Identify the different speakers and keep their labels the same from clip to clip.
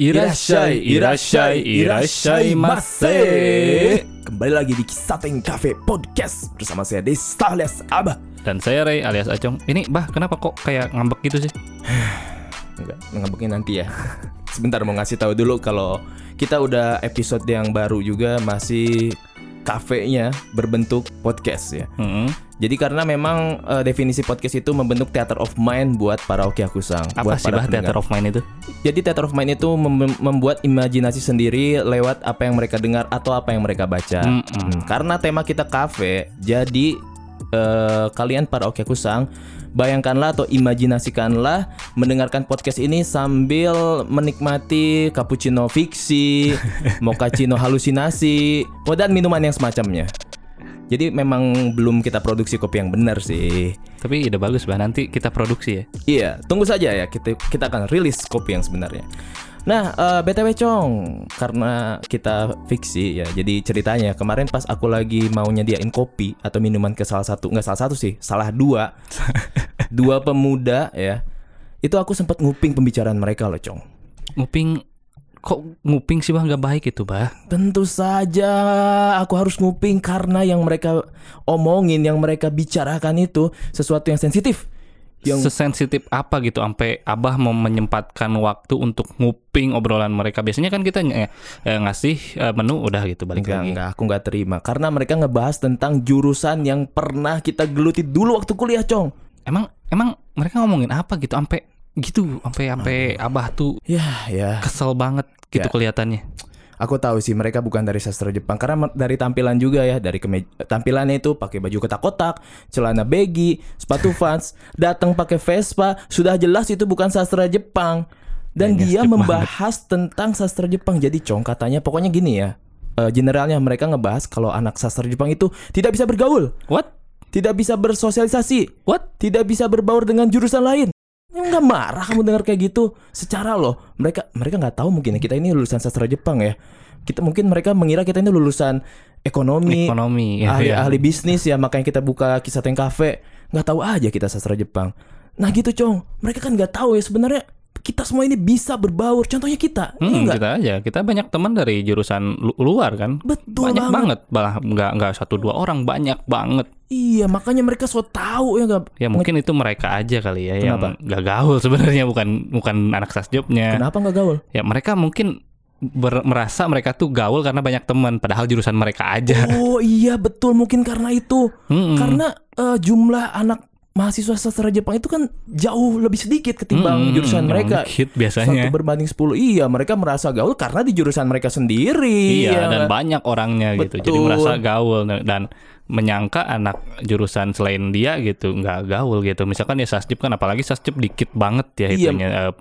Speaker 1: いらっしゃい、いらっしゃい、いらっしゃいませ。
Speaker 2: Kembali lagi di Kisah Teng Cafe Podcast Bersama saya Desta alias Abah
Speaker 1: Dan saya Ray alias Acong. Ini bah kenapa kok kayak ngambek gitu sih?
Speaker 2: Enggak, ngambeknya nanti ya Sebentar mau ngasih tahu dulu kalau kita udah episode yang baru juga masih kafenya berbentuk podcast ya
Speaker 1: Mm-mm.
Speaker 2: Jadi karena memang eh, definisi podcast itu membentuk theater of mind buat para okiakusang
Speaker 1: Apa
Speaker 2: buat
Speaker 1: sih
Speaker 2: para
Speaker 1: bah
Speaker 2: pendengar.
Speaker 1: theater of mind itu?
Speaker 2: Jadi theater of mind itu mem- membuat imajinasi sendiri lewat apa yang mereka dengar atau apa yang mereka baca.
Speaker 1: Mm-mm.
Speaker 2: Hmm, Karena tema kita kafe, jadi eh, kalian para oke kusang bayangkanlah atau imajinasikanlah mendengarkan podcast ini sambil menikmati cappuccino fiksi, mochaccino halusinasi, oh, dan minuman yang semacamnya. Jadi memang belum kita produksi kopi yang benar sih.
Speaker 1: Tapi ide bagus bah nanti kita produksi ya.
Speaker 2: Iya, tunggu saja ya kita kita akan rilis kopi yang sebenarnya. Nah, eh, btw Cong, karena kita fiksi ya, jadi ceritanya kemarin pas aku lagi mau nyediain kopi atau minuman ke salah satu, nggak salah satu sih, salah dua, dua pemuda ya, itu aku sempat nguping pembicaraan mereka loh Cong.
Speaker 1: Nguping kok nguping sih bah nggak baik itu bah.
Speaker 2: Tentu saja aku harus nguping karena yang mereka omongin, yang mereka bicarakan itu sesuatu yang sensitif, yang
Speaker 1: Sesensitif apa gitu sampai abah mau menyempatkan waktu untuk nguping obrolan mereka. Biasanya kan kita ny- eh, eh, ngasih eh, menu udah gitu balik
Speaker 2: Enggak,
Speaker 1: lagi.
Speaker 2: enggak, aku nggak terima karena mereka ngebahas tentang jurusan yang pernah kita geluti dulu waktu kuliah, Cong.
Speaker 1: Emang emang mereka ngomongin apa gitu sampai gitu sampai sampai abah tuh
Speaker 2: Ya, ya.
Speaker 1: kesel banget gitu
Speaker 2: Ya.
Speaker 1: kelihatannya.
Speaker 2: Aku tahu sih mereka bukan dari sastra Jepang karena mer- dari tampilan juga ya, dari kemeja, tampilannya itu pakai baju kotak-kotak, celana baggy, sepatu Vans, datang pakai Vespa, sudah jelas itu bukan sastra Jepang. Dan
Speaker 1: Kayaknya
Speaker 2: dia
Speaker 1: skip
Speaker 2: membahas tentang sastra Jepang. Jadi, Cong, katanya pokoknya gini ya. eh, generalnya mereka ngebahas kalau anak sastra Jepang itu tidak bisa bergaul,
Speaker 1: What?
Speaker 2: tidak bisa bersosialisasi,
Speaker 1: What?
Speaker 2: tidak bisa berbaur dengan jurusan lain. Ya, Nggak marah kamu dengar kayak gitu. Secara loh, mereka mereka nggak tahu mungkin ya kita ini lulusan sastra Jepang ya. Kita mungkin mereka mengira kita ini lulusan ekonomi,
Speaker 1: Ekonomi ya.
Speaker 2: ahli
Speaker 1: ya.
Speaker 2: ahli bisnis ya makanya kita buka kisah teng kafe. Nggak tahu aja kita sastra Jepang. Nah gitu cong, mereka kan nggak tahu ya sebenarnya kita semua ini bisa berbaur. Contohnya kita, Iya
Speaker 1: Hmm,
Speaker 2: nggak?
Speaker 1: kita aja. Kita banyak teman dari jurusan lu- luar kan.
Speaker 2: Betul
Speaker 1: banyak
Speaker 2: banget.
Speaker 1: banget. Malah nggak nggak satu dua orang, banyak banget.
Speaker 2: Iya makanya mereka so tahu ya nggak.
Speaker 1: Ya mungkin itu mereka aja kali ya
Speaker 2: Kenapa?
Speaker 1: yang nggak gaul sebenarnya bukan bukan anak sasjobnya.
Speaker 2: Kenapa nggak gaul?
Speaker 1: Ya mereka mungkin ber- merasa mereka tuh gaul karena banyak teman, padahal jurusan mereka aja. Hmm,
Speaker 2: Oh iya betul mungkin karena itu.
Speaker 1: Mm-mm.
Speaker 2: Oh, Karena eh, jumlah anak mahasiswa sastra Jepang itu kan jauh lebih sedikit ketimbang
Speaker 1: Mm-mm.
Speaker 2: jurusan
Speaker 1: Emang
Speaker 2: mereka.
Speaker 1: hmm, dikit
Speaker 2: Satu
Speaker 1: biasanya.
Speaker 2: berbanding 10. Iya, mereka merasa gaul karena di jurusan mereka
Speaker 1: Iya,
Speaker 2: sendiri. ya
Speaker 1: dan
Speaker 2: nggak?
Speaker 1: banyak orangnya gitu. Jadi
Speaker 2: Betul.
Speaker 1: merasa gaul dan- dan menyangka anak jurusan selain dia gitu nggak gaul gitu. Misalkan ya sasjib kan apalagi sasjib dikit banget ya
Speaker 2: Iya.
Speaker 1: itunya eh,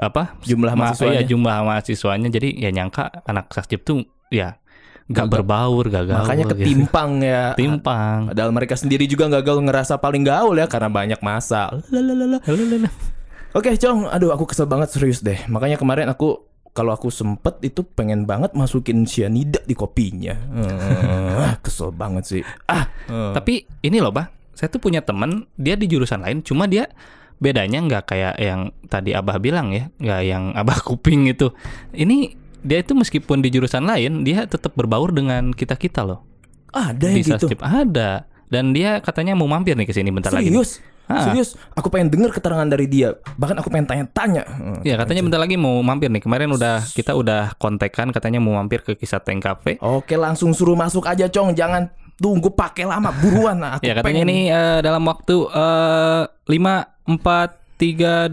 Speaker 1: apa
Speaker 2: Jumlah
Speaker 1: ma-
Speaker 2: mahasiswanya.
Speaker 1: iya, jumlah mahasiswanya. Jadi ya nyangka anak sasjib tuh ya nggak
Speaker 2: Nggak-
Speaker 1: berbaur, nggak gaul.
Speaker 2: Makanya
Speaker 1: gitu.
Speaker 2: ketimpang ya.
Speaker 1: Timpang.
Speaker 2: Padahal mereka sendiri juga nggak gaul ngerasa paling gaul ya karena banyak masa. Lalalala. Oke, Cong. Aduh, aku kesel banget serius deh. Makanya kemarin aku kalau aku sempet itu pengen banget masukin sianida di kopinya. Eh, kesel banget sih. Ah, eh.
Speaker 1: Tapi ini loh, Bah. Saya tuh punya temen, dia di jurusan lain, cuma dia bedanya nggak kayak yang tadi Abah bilang ya, nggak yang Abah kuping itu. Ini dia itu meskipun di jurusan lain, dia tetap berbaur dengan kita-kita loh.
Speaker 2: ada
Speaker 1: Di
Speaker 2: yang gitu.
Speaker 1: Sastip ada. Dan dia katanya mau mampir nih ke sini bentar lagi.
Speaker 2: Serius?
Speaker 1: Ah.
Speaker 2: Serius? Aku pengen dengar keterangan dari dia. Bahkan aku pengen tanya-tanya. Hmm.
Speaker 1: Ya katanya bentar lagi mau mampir nih. Kemarin udah kita udah kontekan katanya mau mampir ke Kisah Tank Cafe.
Speaker 2: Oke, langsung suruh masuk aja, Cong. Jangan tunggu pakai lama, buruan. Nah, aku
Speaker 1: Ya katanya ini
Speaker 2: pengen-
Speaker 1: eh, dalam waktu eh, 5 4 3 2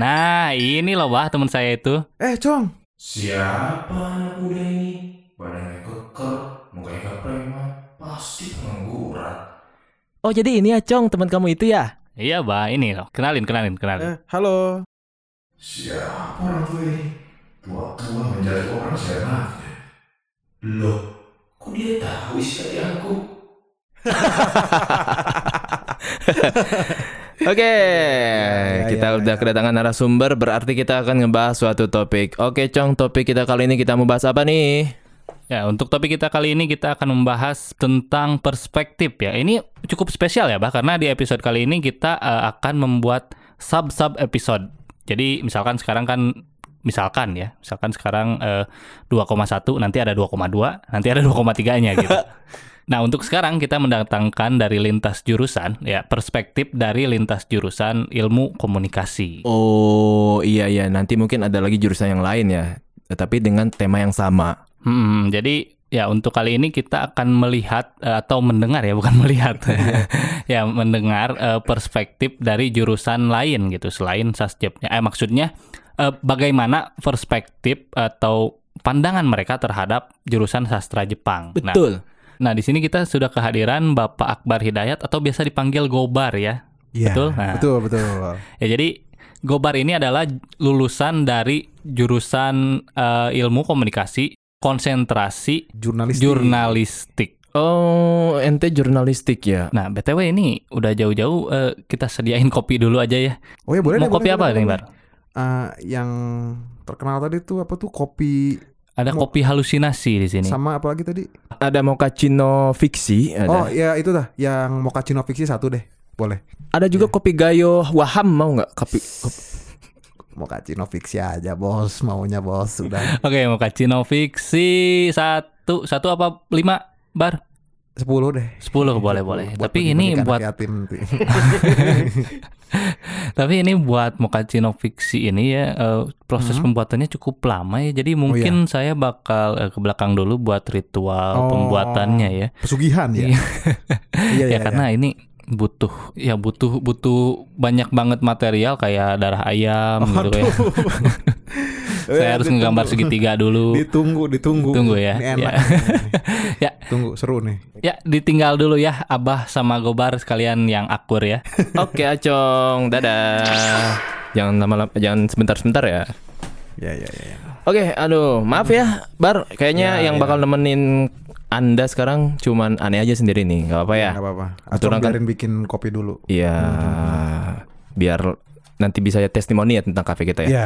Speaker 1: Nah, ini loh Bah teman saya itu.
Speaker 3: Eh, Cong.
Speaker 4: Siapa anak muda ini? Badannya keker, mukanya gak preman, pasti pengangguran.
Speaker 2: Oh, jadi ini ya, Cong, teman kamu itu ya?
Speaker 1: Iya, Bah, ini loh. Kenalin, kenalin, kenalin.
Speaker 3: Eh, halo.
Speaker 4: Siapa orang tua ini? Tua-tua menjadi orang seenaknya. Loh, kok dia tahu isi hati aku?
Speaker 2: Oke,
Speaker 3: ya,
Speaker 2: kita
Speaker 3: ya,
Speaker 2: udah kedatangan narasumber, berarti kita akan ngebahas suatu topik. Oke, Cong, topik kita kali ini kita mau bahas apa nih?
Speaker 1: Ya, untuk topik kita kali ini kita akan membahas tentang perspektif ya. Ini cukup spesial ya, Bah, karena di episode kali ini kita eh, akan membuat sub-sub episode. Jadi misalkan sekarang kan misalkan ya, misalkan sekarang eh, 2,1 nanti ada 2,2, nanti ada 2,3-nya gitu. nah, untuk sekarang kita mendatangkan dari lintas jurusan ya, perspektif dari lintas jurusan ilmu komunikasi.
Speaker 2: Oh iya iya nanti mungkin ada lagi jurusan yang lain ya, tapi dengan tema yang sama.
Speaker 1: Hmm, jadi ya untuk kali ini kita akan melihat eh, atau mendengar ya, bukan melihat. ya, mendengar eh, perspektif dari jurusan lain gitu selain sasjepnya. Eh maksudnya eh, bagaimana perspektif atau pandangan mereka terhadap jurusan sastra Jepang. Nah, Nah, di sini kita sudah kehadiran Bapak Akbar Hidayat atau biasa dipanggil Gobar ya.
Speaker 3: Iya,
Speaker 1: Betul? Nah.
Speaker 3: betul, betul.
Speaker 1: Ya jadi Gobar ini adalah lulusan dari jurusan eh, ilmu komunikasi konsentrasi
Speaker 3: Jurnalis.
Speaker 1: jurnalistik.
Speaker 2: Oh ente jurnalistik ya?
Speaker 1: Nah, BTW ini udah jauh-jauh eh, kita sediain kopi dulu aja ya.
Speaker 3: Oh ya boleh.
Speaker 1: Mau
Speaker 3: deh,
Speaker 1: kopi
Speaker 3: boleh,
Speaker 1: apa
Speaker 3: boleh,
Speaker 1: nih,
Speaker 3: boleh.
Speaker 1: Bar?
Speaker 3: Eh, yang terkenal tadi tuh apa tuh kopi
Speaker 1: Ada
Speaker 3: Mau-
Speaker 1: kopi halusinasi di sini.
Speaker 3: sama apa lagi tadi?
Speaker 2: Ada mochaccino fiksi, ada.
Speaker 3: Oh ya itu dah yang mochaccino fiksi satu deh. Boleh.
Speaker 2: Ada
Speaker 3: iya.
Speaker 2: juga kopi gayo waham mau nggak? Kopi, kopi-
Speaker 3: Mochaccino fiksi aja, Bos. Maunya Bos sudah.
Speaker 1: Oke, mau kacino fiksi satu satu apa lima bar
Speaker 3: 10 deh.
Speaker 1: sepuluh boleh boleh.
Speaker 3: Iya, Buat
Speaker 1: Tapi ini
Speaker 3: bagi-bagikan
Speaker 1: buat
Speaker 3: hati-hati nanti.
Speaker 1: Tapi ini buat Mokacino Fiksi ini ya eh, proses pembuatannya cukup lama ya. Jadi mungkin saya bakal eh, ke belakang dulu buat ritual
Speaker 3: Oh.
Speaker 1: pembuatannya ya.
Speaker 3: Pesugihan ya.
Speaker 1: Iya.
Speaker 3: Iya
Speaker 1: ya karena ini butuh ya butuh butuh banyak banget material kayak darah ayam gitu ya. Saya harus menggambar segitiga dulu.
Speaker 3: Ditunggu, ditunggu.
Speaker 1: Tunggu ya,
Speaker 3: Ini enak.
Speaker 1: Ya.
Speaker 3: Tunggu seru nih.
Speaker 1: Ya, ditinggal dulu ya Abah sama Gobar sekalian yang akur ya.
Speaker 2: Oke acong, dadah. Jangan lama-lama, jangan sebentar-sebentar ya.
Speaker 3: Ya ya ya. ya.
Speaker 2: Oke, aduh, maaf ya, Bar. Kayaknya
Speaker 3: Ya,
Speaker 2: yang
Speaker 3: ya.
Speaker 2: bakal nemenin anda sekarang cuman aneh aja sendiri nih, nggak apa-apa ya?
Speaker 3: Nggak apa-apa. Atau
Speaker 2: Aturan kan-
Speaker 3: biarin bikin kopi dulu.
Speaker 2: Iya, biar nanti bisa ya testimoni ya tentang kafe
Speaker 1: Iya.
Speaker 2: kita ya.
Speaker 3: Ya.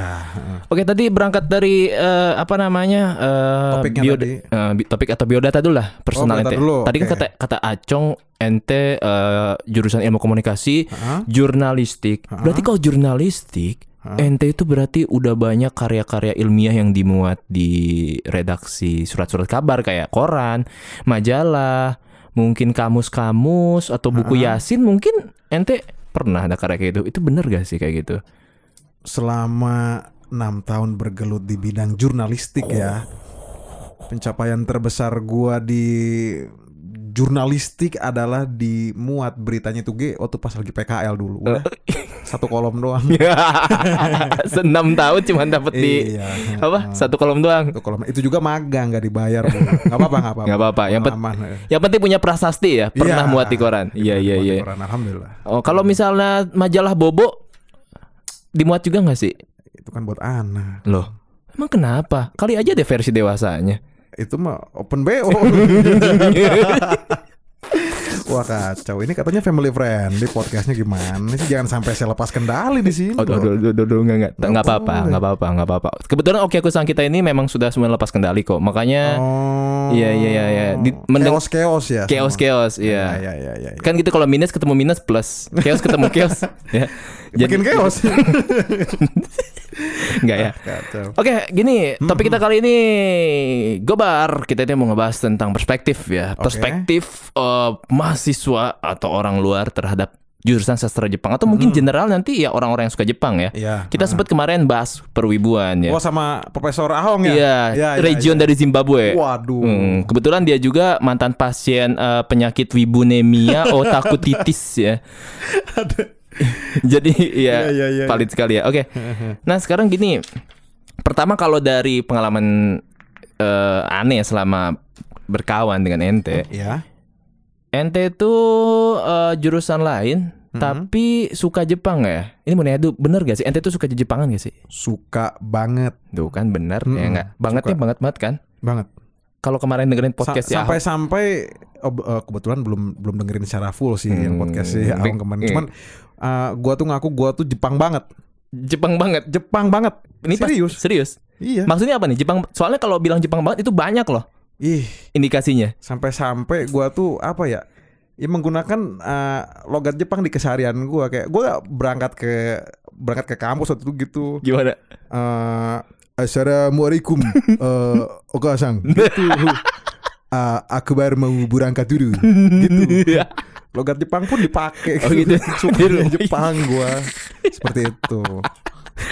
Speaker 2: Oke, tadi berangkat dari eh, apa namanya? eh,
Speaker 3: Topiknya
Speaker 2: bio-
Speaker 3: tadi. Oh,
Speaker 2: eh, bi- topik atau biodata dulu lah, personal
Speaker 3: biodata
Speaker 2: ente.
Speaker 3: dulu,
Speaker 2: Tadi kan
Speaker 3: oke.
Speaker 2: kata kata Acong ente eh, jurusan ilmu komunikasi,
Speaker 3: Heeh.
Speaker 2: jurnalistik. Berarti kalau jurnalistik Ente itu berarti udah banyak karya-karya ilmiah yang dimuat di redaksi surat-surat kabar kayak koran, majalah, mungkin kamus-kamus atau buku yasin mungkin ente pernah ada karya kayak gitu. Itu bener gak sih kayak gitu?
Speaker 3: selama enam tahun bergelut di bidang jurnalistik ya. Pencapaian terbesar gua di jurnalistik adalah dimuat beritanya itu G waktu pas lagi PKL dulu.
Speaker 2: Oh,
Speaker 3: Udah.
Speaker 2: iya.
Speaker 3: Satu kolom doang.
Speaker 2: Senam tahun cuma dapat di
Speaker 3: Iya.
Speaker 2: apa? Satu kolom doang.
Speaker 3: Satu kolom. Itu juga magang nggak dibayar. Bu. Nggak apa-apa, nggak apa-apa.
Speaker 2: Nggak apa-apa, yang pet-
Speaker 3: Pengalaman, ya.
Speaker 2: Yang penting punya prasasti ya, pernah
Speaker 3: Iya.
Speaker 2: muat di koran. Iya iya
Speaker 3: Buat
Speaker 2: iya.
Speaker 3: koran, Alhamdulillah.
Speaker 2: Oh, kalau misalnya majalah Bobo dimuat juga nggak sih?
Speaker 3: Itu kan buat anak.
Speaker 2: Loh, emang kenapa? Kali aja ada versi dewasanya.
Speaker 3: Itu mah open BO. Wah kacau. Ini katanya family friendly podcastnya gimana sih? Jangan sampai saya lepas kendali di sini.
Speaker 2: Oh,
Speaker 3: loh.
Speaker 2: aduh, aduh, aduh, aduh, enggak, enggak. Enggak apa-apa, enggak apa-apa, enggak apa-apa. Kebetulan oke aku sang kita ini memang sudah semua lepas kendali kok. Makanya
Speaker 3: Oh.
Speaker 2: Iya, iya, iya, iya. Di- mendeng-
Speaker 3: Chaos chaos ya.
Speaker 2: chaos
Speaker 3: semua.
Speaker 2: chaos iya.
Speaker 3: Iya iya iya. iya.
Speaker 2: Kan gitu kalau minus ketemu minus plus, chaos ketemu chaos ya.
Speaker 3: Makin chaos.
Speaker 2: enggak ya.
Speaker 3: kacau.
Speaker 2: Oke, gini, topik kita kali ini gobar. Kita ini mau ngebahas tentang perspektif ya.
Speaker 3: Oke.
Speaker 2: Perspektif eh, mahasiswa atau orang luar terhadap jurusan sastra Jepang atau mungkin general nanti ya orang-orang yang suka Jepang ya.
Speaker 3: Iya.
Speaker 2: Kita sempat kemarin bahas perwibuan ya.
Speaker 3: Oh sama Profesor Ahong ya? iya.
Speaker 2: Iya, region dari Zimbabwe.
Speaker 3: Waduh.
Speaker 2: Hmm, kebetulan dia juga mantan pasien eh, penyakit wibunemia otakutitis ya. Jadi ya,
Speaker 3: Iya, iya, iya.
Speaker 2: valid sekali ya. Oke. Nah, sekarang gini. Pertama kalau dari pengalaman eh, aneh selama berkawan dengan ente.
Speaker 3: Iya.
Speaker 2: Ente itu eh, jurusan lain
Speaker 3: Hmm.
Speaker 2: tapi suka Jepang nggak ya? Ini mau nanya dulu, bener gak sih? Ente tuh suka Jepangan gak sih?
Speaker 3: Suka banget
Speaker 2: Tuh kan bener ya
Speaker 3: Mm-mm,
Speaker 2: nggak? Bangetnya
Speaker 3: Hmm, suka.
Speaker 2: banget banget kan?
Speaker 3: banget.
Speaker 2: Kalau kemarin dengerin
Speaker 3: Sa-
Speaker 2: podcast ya
Speaker 3: sampai-sampai oh, be- eh, kebetulan belum belum dengerin secara full sih
Speaker 2: Hmm,
Speaker 3: yang podcast sih Ahong
Speaker 2: deng-
Speaker 3: kemarin.
Speaker 2: iya.
Speaker 3: Cuman eh, gua tuh ngaku gua tuh Jepang banget.
Speaker 2: Jepang banget.
Speaker 3: Jepang banget.
Speaker 2: Ini pas-
Speaker 3: serius.
Speaker 2: serius.
Speaker 3: Iya.
Speaker 2: Maksudnya apa nih Jepang? Soalnya kalau bilang Jepang banget itu banyak loh
Speaker 3: Ih,
Speaker 2: indikasinya.
Speaker 3: sampai-sampai gua tuh apa ya? ya menggunakan eh, logat Jepang di keseharian gua kayak gua berangkat ke berangkat ke kampus waktu itu gitu
Speaker 2: Gimana?
Speaker 3: Eh, Assalamualaikum eh Oka-san gitu Eh, aku baru mau berangkat dulu gitu
Speaker 2: Ya,
Speaker 3: logat Jepang pun dipakai
Speaker 2: Oh, gitu. Di
Speaker 3: Suka
Speaker 2: rumah.
Speaker 3: Jepang gua seperti itu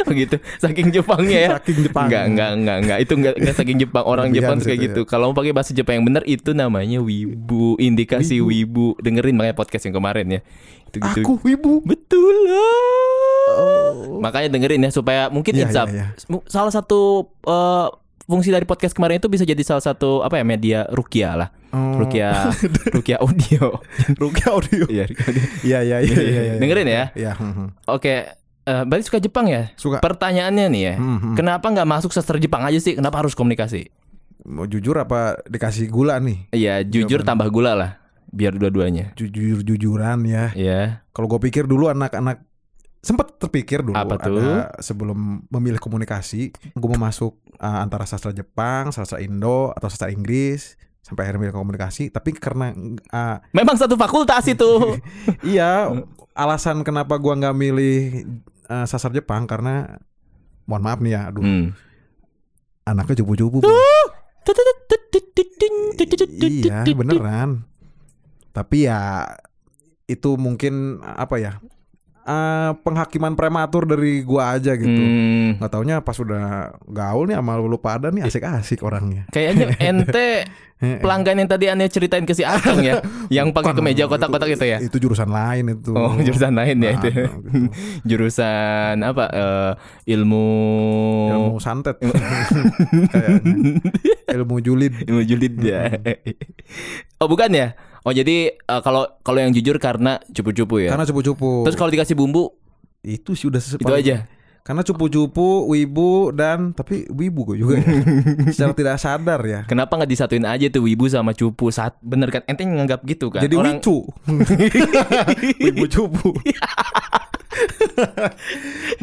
Speaker 2: Oh gitu, saking Jepangnya ya.
Speaker 3: Saking Jepang.
Speaker 2: Enggak, enggak, enggak, enggak. Itu enggak, enggak saking Jepang. Orang
Speaker 3: Kelebihan
Speaker 2: Jepang tuh kayak
Speaker 3: situ,
Speaker 2: gitu. Kalau mau pakai bahasa Jepang yang benar itu namanya wibu, indikasi wibu. Dengerin makanya podcast yang kemarin ya. Itu gitu.
Speaker 3: aku wibu
Speaker 2: betul lah. Makanya dengerin ya supaya mungkin
Speaker 3: Iya,
Speaker 2: it's up.
Speaker 3: iya,
Speaker 2: Mu- Salah satu eh, fungsi dari podcast kemarin itu bisa jadi salah satu apa ya media rukia lah.
Speaker 3: Oh.
Speaker 2: Rukia rukia audio.
Speaker 3: Rukia audio
Speaker 2: Iya, rukia audio.
Speaker 3: Iya iya iya iya. iya.
Speaker 2: Dengerin ya.
Speaker 3: Iya. hmm, hmm.
Speaker 2: Oke, eh, berarti suka Jepang ya?
Speaker 3: Suka.
Speaker 2: Pertanyaannya nih ya,
Speaker 3: Hmm, hmm.
Speaker 2: kenapa nggak masuk sastra Jepang aja sih? Kenapa harus komunikasi?
Speaker 3: Mau jujur apa dikasih gula nih?
Speaker 2: Iya, jujur tambah gula lah, biar dua-duanya.
Speaker 3: Jujur jujuran ya.
Speaker 2: Iya.
Speaker 3: Kalau gue pikir dulu anak-anak sempat terpikir dulu
Speaker 2: Apa tuh?
Speaker 3: ada sebelum memilih komunikasi, gue mau masuk uh, antara sastra Jepang, sastra Indo atau sastra Inggris sampai akhirnya milih komunikasi. Tapi karena uh,
Speaker 2: Memang satu fakultas itu.
Speaker 3: iya alasan kenapa gua nggak milih uh, sastra Jepang karena mohon maaf nih ya, aduh
Speaker 2: Hmm.
Speaker 3: anaknya cupu-cupu. Bu. Iya beneran. Tapi ya itu mungkin apa ya eh, penghakiman prematur dari gua aja gitu.
Speaker 2: Hmm.
Speaker 3: Nggak taunya pas udah gaul nih sama lu pada
Speaker 2: Iya.
Speaker 3: nih asik-asik orangnya.
Speaker 2: Kayaknya ente
Speaker 3: Eh, eh.
Speaker 2: pelanggan yang tadi aneh ceritain ke si Akang ya, yang pakai
Speaker 3: Bukan,
Speaker 2: kemeja kotak-kotak itu ya.
Speaker 3: Itu jurusan lain itu.
Speaker 2: Oh, jurusan lain ya
Speaker 3: Nah,
Speaker 2: itu.
Speaker 3: gitu.
Speaker 2: Jurusan apa? eh, ilmu
Speaker 3: Ilmu santet.
Speaker 2: Oh.
Speaker 3: Kayaknya. Ilmu julid.
Speaker 2: ilmu julid ya. oh, bukan ya? Oh, jadi eh, kalau kalau yang jujur karena cupu-cupu ya.
Speaker 3: Karena cupu-cupu.
Speaker 2: Terus kalau dikasih bumbu
Speaker 3: itu sih udah
Speaker 2: itu
Speaker 3: sepaling-
Speaker 2: aja.
Speaker 3: Karena cupu-cupu, wibu dan tapi wibu gue juga ya. Secara tidak sadar ya.
Speaker 2: Kenapa nggak disatuin aja tuh wibu sama cupu saat bener kan? Ente nganggap gitu kan?
Speaker 3: Jadi
Speaker 2: Orang
Speaker 3: wicu. wibu cupu.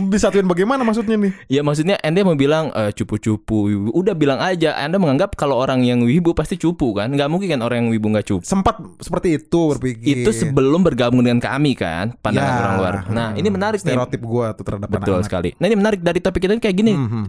Speaker 3: Disatuin bagaimana maksudnya nih?
Speaker 2: ya maksudnya ente mau bilang eh, cupu-cupu wibu. Udah bilang aja. Anda menganggap kalau orang yang wibu pasti cupu kan? Nggak mungkin kan orang yang wibu nggak cupu.
Speaker 3: Sempat seperti itu
Speaker 2: Itu
Speaker 3: berpikir.
Speaker 2: sebelum bergabung dengan kami kan pandangan
Speaker 3: Iya, Ya.
Speaker 2: orang luar. Nah ini menarik nih.
Speaker 3: stereotip gua tuh terhadap
Speaker 2: Betul
Speaker 3: anak-anak.
Speaker 2: sekali. Nah ini menarik dari topik kita ini kayak gini.
Speaker 3: Mhm.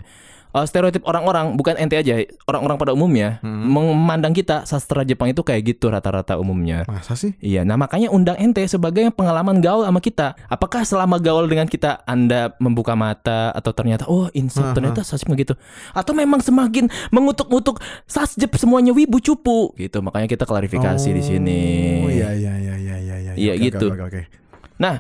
Speaker 2: Eh, stereotip orang-orang bukan ente aja, orang-orang pada umumnya
Speaker 3: Mhm.
Speaker 2: memandang kita sastra Jepang itu kayak gitu rata-rata umumnya.
Speaker 3: Masa sih?
Speaker 2: Iya, nah makanya undang ente sebagai pengalaman gaul sama kita. Apakah selama gaul dengan kita Anda membuka mata atau ternyata oh insight ternyata sasip gitu atau memang semakin mengutuk-utuk sasjep semuanya wibu cupu gitu. Makanya kita klarifikasi di sini.
Speaker 3: Oh iya iya iya iya iya iya.
Speaker 2: Iya,
Speaker 3: Oke, oke,
Speaker 2: gitu.
Speaker 3: Oke oke.
Speaker 2: Nah,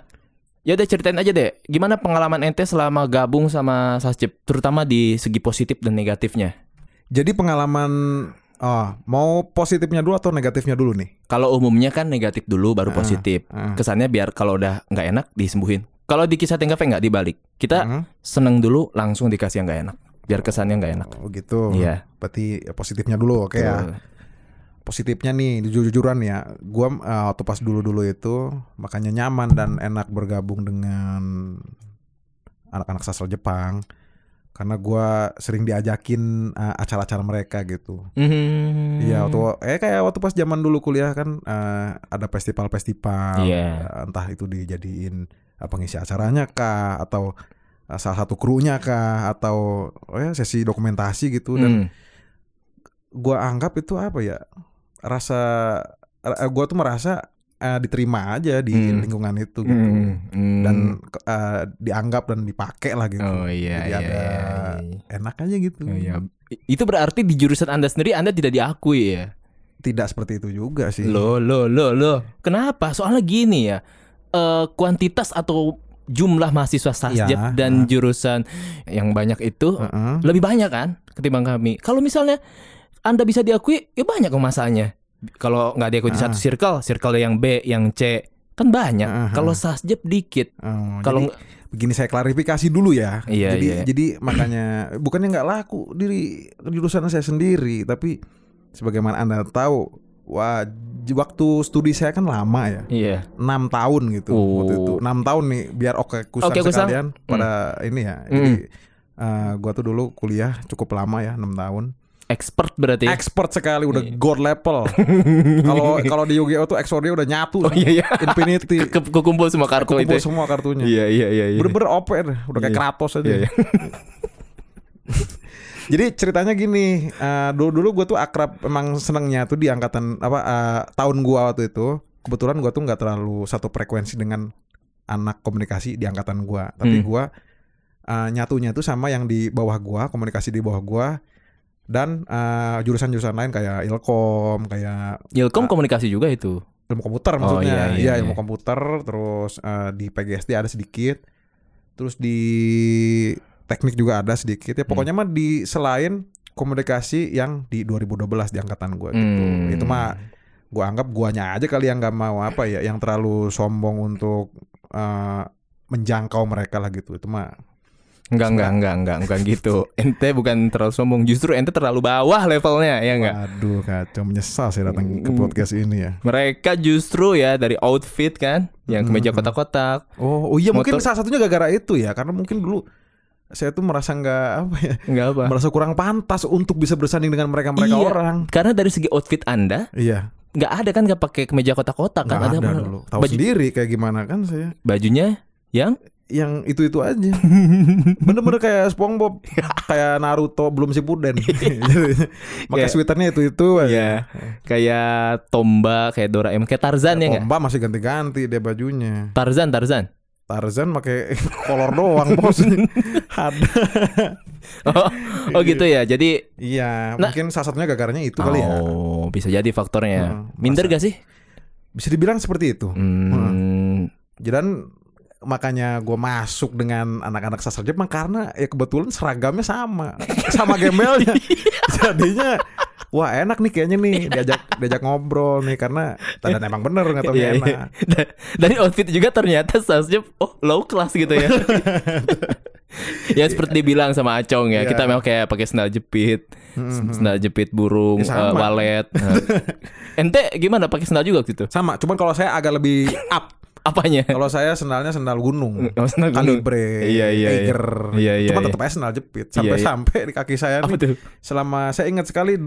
Speaker 2: ya udah ceritain aja deh, gimana pengalaman ente selama gabung sama Sasjep, terutama di segi positif dan negatifnya.
Speaker 3: Jadi pengalaman oh, mau positifnya dulu atau negatifnya dulu nih?
Speaker 2: Kalau umumnya kan negatif dulu baru positif.
Speaker 3: ah.
Speaker 2: Kesannya biar kalau udah nggak enak disembuhin. Kalau di kisah Tengah nggak dibalik. Kita
Speaker 3: Hmm?
Speaker 2: seneng dulu langsung dikasih yang nggak enak, biar kesannya nggak enak.
Speaker 3: Oh gitu.
Speaker 2: Iya.
Speaker 3: Berarti positifnya dulu oke ya.
Speaker 2: Tuh.
Speaker 3: positifnya nih jujur-jujuran ya gua eh, waktu pas dulu-dulu itu makanya nyaman dan enak bergabung dengan anak-anak sastra Jepang karena gua sering diajakin eh, acara-acara mereka gitu
Speaker 2: Mhm.
Speaker 3: Iya waktu eh kayak waktu pas zaman dulu kuliah kan eh, ada festival-festival
Speaker 2: Iya.
Speaker 3: Eh, entah itu dijadiin eh, pengisi acaranya kah atau eh, salah satu krunya kah atau oh ya sesi dokumentasi gitu
Speaker 2: Hmm.
Speaker 3: dan gua anggap itu apa ya rasa ra- gua tuh merasa eh, diterima aja di
Speaker 2: Hmm.
Speaker 3: lingkungan itu gitu
Speaker 2: Hmm. Hmm.
Speaker 3: dan ke- eh, dianggap dan dipakai lah gitu
Speaker 2: oh iya
Speaker 3: Jadi
Speaker 2: iya,
Speaker 3: ada
Speaker 2: iya.
Speaker 3: enak aja gitu
Speaker 2: Oh, iya. Itu berarti di jurusan Anda sendiri Anda tidak diakui ya.
Speaker 3: tidak seperti itu juga sih
Speaker 2: Loh, loh, loh, loh. Kenapa? Soalnya gini ya. eh, kuantitas atau jumlah mahasiswa sasjep
Speaker 3: Ya,
Speaker 2: dan jurusan yang banyak itu
Speaker 3: Heeh.
Speaker 2: lebih banyak kan ketimbang kami. Kalau misalnya Anda bisa diakui, ya banyak kok masanya. Kalau nggak diakui di satu circle, circle yang B, yang C, kan banyak.
Speaker 3: Ah, ah.
Speaker 2: Kalau sasjep dikit.
Speaker 3: Oh,
Speaker 2: Kalau
Speaker 3: jadi begini saya klarifikasi dulu ya
Speaker 2: Iya,
Speaker 3: jadi
Speaker 2: iya.
Speaker 3: jadi makanya bukannya nggak laku diri jurusan saya sendiri tapi sebagaimana anda tahu wah j- waktu studi saya kan lama ya
Speaker 2: Iya.
Speaker 3: 6 tahun gitu waktu itu.
Speaker 2: Oh.
Speaker 3: 6 tahun nih biar oke kusam
Speaker 2: Oke, Hmm. kusam.
Speaker 3: sekalian pada ini ya. Jadi eh, gua tuh dulu kuliah cukup lama ya 6 tahun.
Speaker 2: expert berarti.
Speaker 3: Expert sekali udah
Speaker 2: Iya.
Speaker 3: god level. Kalau kalau di Yu-Gi-Oh tuh exornya udah nyatu.
Speaker 2: oh iya iya.
Speaker 3: Infinity.
Speaker 2: Ke, kekumpul semua kartu
Speaker 3: Kumpul
Speaker 2: itu.
Speaker 3: semua kartunya.
Speaker 2: Iya iya iya. iya.
Speaker 3: Bener-bener OP deh, udah kayak
Speaker 2: Iya.
Speaker 3: Kratos aja.
Speaker 2: Iya, iya.
Speaker 3: Jadi ceritanya gini, eh, dulu dulu gue tuh akrab emang senengnya tuh di angkatan apa eh, tahun gua waktu itu. Kebetulan gua tuh nggak terlalu satu frekuensi dengan anak komunikasi di angkatan gua, tapi
Speaker 2: Hmm.
Speaker 3: gua eh, nyatunya tuh sama yang di bawah gua, komunikasi di bawah gua dan eh, jurusan-jurusan lain kayak ilkom, kayak
Speaker 2: Ilkom Ya, komunikasi juga itu.
Speaker 3: ilmu komputer
Speaker 2: Oh,
Speaker 3: maksudnya.
Speaker 2: iya,
Speaker 3: Iya,
Speaker 2: iya,
Speaker 3: ilmu
Speaker 2: iya.
Speaker 3: komputer terus eh, di PGSD ada sedikit. Terus di teknik juga ada sedikit. Ya pokoknya mah di selain komunikasi yang di 2012 di angkatan gua gitu.
Speaker 2: Hmm.
Speaker 3: Itu mah gua anggap guanya aja kali yang nggak mau apa ya yang terlalu sombong untuk eh, menjangkau mereka lah gitu. Itu mah
Speaker 2: Enggak enggak enggak enggak enggak gitu. Ente bukan terlalu sombong, justru ente terlalu bawah levelnya ya enggak.
Speaker 3: aduh kacau menyesal saya datang ke podcast ini ya.
Speaker 2: Mereka justru ya dari outfit kan, yang kemeja kotak-kotak.
Speaker 3: Oh, oh iya mungkin
Speaker 2: Motor-
Speaker 3: salah satunya gara-gara itu ya karena mungkin dulu saya tuh merasa nggak apa ya
Speaker 2: Enggak apa.
Speaker 3: merasa kurang pantas untuk bisa bersanding dengan mereka-mereka
Speaker 2: Iya,
Speaker 3: orang.
Speaker 2: Karena dari segi outfit Anda
Speaker 3: Iya,
Speaker 2: nggak ada kan nggak pakai kemeja kotak-kotak
Speaker 3: nggak
Speaker 2: kan?
Speaker 3: ada
Speaker 2: mana-
Speaker 3: dulu. Tahu
Speaker 2: baju-
Speaker 3: sendiri kayak gimana kan saya.
Speaker 2: bajunya yang
Speaker 3: Yang itu-itu aja. Bener-bener kayak SpongeBob, kayak Naruto belum si Puden. Iya. Pakai
Speaker 2: Kayak-
Speaker 3: sweaternya itu-itu aja.
Speaker 2: ya kayak Tomba, kayak Doraemon, kayak Tarzan ya nggak?
Speaker 3: Omba masih ganti-ganti dia bajunya.
Speaker 2: Tarzan, Tarzan.
Speaker 3: Tarzan pakai kolor doang bos. Ada.
Speaker 2: Oh, oh gitu ya. Jadi
Speaker 3: Iya,
Speaker 2: Nah.
Speaker 3: mungkin salah satunya gagarnya itu kali ya.
Speaker 2: Oh, bisa jadi faktornya.
Speaker 3: Hmm,
Speaker 2: Minder gak sih?
Speaker 3: Bisa dibilang seperti itu.
Speaker 2: Hmm.
Speaker 3: Jadi kan makanya gue masuk dengan anak-anak sastra Jepang karena ya kebetulan seragamnya sama, sama gembelnya. Jadinya wah enak nih kayaknya nih diajak diajak ngobrol nih karena dan emang bener nggak tahu
Speaker 2: Iya,
Speaker 3: enak.
Speaker 2: iya. Da- Dari outfit juga ternyata seharusnya oh low class gitu ya. ya seperti dibilang sama Acong ya,
Speaker 3: Iya. Hmm,
Speaker 2: kita memang kayak pakai sandal jepit, sandal jepit burung,
Speaker 3: Ya, sama.
Speaker 2: eh, walet. Nah, Ente gimana pakai sandal juga gitu?
Speaker 3: Sama, cuman kalau saya agak lebih up.
Speaker 2: Apanya?
Speaker 3: Kalau saya sendalnya sendal gunung.
Speaker 2: Oh, sandal gunung.
Speaker 3: Kalibre,
Speaker 2: Iya, iya, iya.
Speaker 3: Tiger.
Speaker 2: Iya, iya,
Speaker 3: Cuma
Speaker 2: iya.
Speaker 3: tetap aja sendal
Speaker 2: Iya,
Speaker 3: jepit.
Speaker 2: iya.
Speaker 3: Sampai-sampai di kaki saya
Speaker 2: Apa
Speaker 3: nih,
Speaker 2: tuh?
Speaker 3: selama saya ingat sekali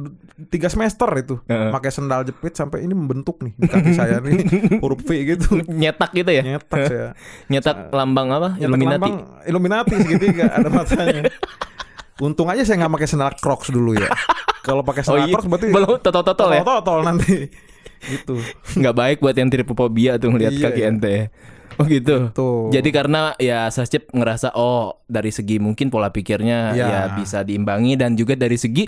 Speaker 3: tiga semester itu
Speaker 2: Heeh.
Speaker 3: pakai sendal jepit sampai ini membentuk nih di kaki saya nih huruf V gitu.
Speaker 2: Nyetak gitu ya?
Speaker 3: Nyetak saya.
Speaker 2: Nyetak lambang apa?
Speaker 3: Nyetak
Speaker 2: Illuminati.
Speaker 3: lambang Illuminati segitiga ada matanya. Untung aja saya nggak pakai sendal Crocs dulu ya. Kalau pakai
Speaker 2: Oh
Speaker 3: sendal
Speaker 2: iya,
Speaker 3: Crocs berarti
Speaker 2: belum totol-totol ya.
Speaker 3: Totol nanti. Gitu.
Speaker 2: nggak baik buat yang tripofobia tuh ngelihat
Speaker 3: Iya,
Speaker 2: kaki
Speaker 3: iya.
Speaker 2: ente ya. Oh gitu.
Speaker 3: Tuh.
Speaker 2: Jadi karena ya Sasjep ngerasa oh dari segi mungkin pola pikirnya
Speaker 3: Iya.
Speaker 2: ya bisa diimbangi dan juga dari segi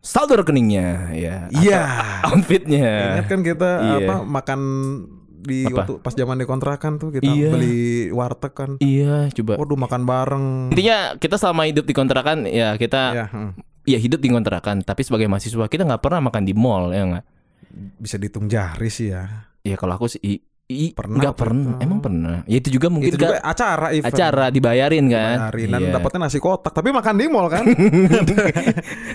Speaker 2: saldo rekeningnya ya.
Speaker 3: Iya.
Speaker 2: Atau Outfitnya.
Speaker 3: Ingat kan kita
Speaker 2: Iya.
Speaker 3: apa makan di
Speaker 2: Apa?
Speaker 3: waktu pas zaman dikontrakan tuh kita
Speaker 2: Iya.
Speaker 3: beli warteg kan.
Speaker 2: Iya, coba.
Speaker 3: Waduh makan bareng.
Speaker 2: Intinya kita selama hidup di kontrakan ya kita
Speaker 3: Ya, hmm.
Speaker 2: ya hidup di kontrakan tapi sebagai mahasiswa kita nggak pernah makan di mall ya nggak?
Speaker 3: bisa dihitung jari sih ya.
Speaker 2: Ya kalau aku sih i- i-
Speaker 3: Pernah
Speaker 2: nggak
Speaker 3: waktu
Speaker 2: pernah.
Speaker 3: itu.
Speaker 2: Emang pernah. Ya itu juga mungkin
Speaker 3: Itu juga
Speaker 2: kan
Speaker 3: acara event.
Speaker 2: acara dibayarin kan.
Speaker 3: Hari dan
Speaker 2: Iya.
Speaker 3: dapatnya nasi kotak tapi makan di mall kan.